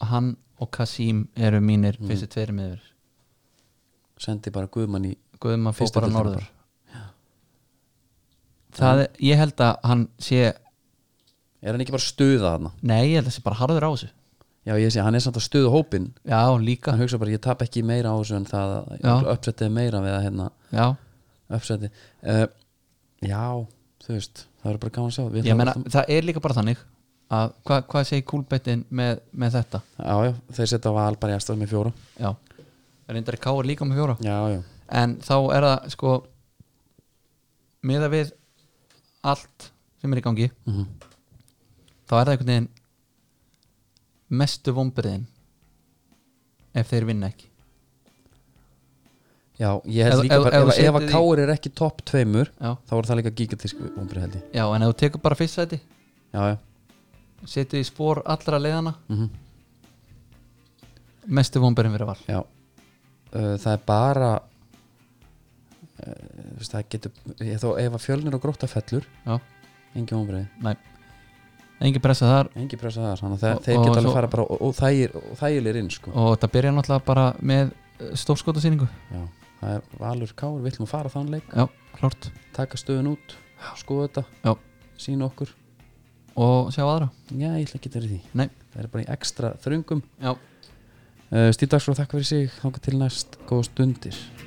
hann og Kasim eru mínir fyrstu tveiri miður
sendi bara Guðmann í
Guðum að fór
Fyrstu
bara
deildina
norður það er, ég held að hann sé
Er hann ekki bara að stuða þarna?
nei, ég held að sé bara harður á þessu
Já, ég sé, hann er samt að stuða hópinn
já, líka,
hann hugsa bara, ég tap ekki meira á þessu en það
Já.
uppsettið meira við að hérna
já
uppsettið uh, Já, þú veist, það verður bara gaman að sjá Við
ég
ætlum
meina,
alltaf-
það er líka bara þannig að hva, hvað segir kúlbettin með, með þetta
Já, já, þeir setja val bara í aðstæðum með fjóra
já, reyndar káur líka með fjóra
Já, já,
en þá er það sko miða við allt sem er í gangi
mm
þá er það einhvern veginn mestu vombriðin ef þeir vinna ekki
já ég held
Ef-
líka
ef-
bara Ef,
ef
ef, ef
þú
að
setur því-
Káur er ekki topp tveimur
já,
þá voru það líka gigantísk vombrið held ég
já en ef þú tekur bara fyrst sæti
Já, já,
setur í spór allra leiðana
mm
mestu vombriðin verið val
já. Uh, Það er bara uh, þú veist, það getur ég, þó, ef að fjölnir og grótta fellur
já,
engin vombrið
næ engin pressa þar
Engi pressa þar, þannig að þeir,
Og-
þeir
og
geta alveg
svo-
fara bara og, og, þægir, og þægilegir inn sko.
og það byrja náttúrulega bara með stórskotasýningu
Já, það er Valur Kár, við ætlum að fara þann leik
já, klart
taka stöðun út, skoða þetta
Já.
sína okkur,
og sjá aðra
já ég ætla ekki til því
Nei.
það er bara í ekstra þröngum Eh,
já
uh, Stíð Dagsfjóð þakka fyrir sig, þanga til næst góða stundir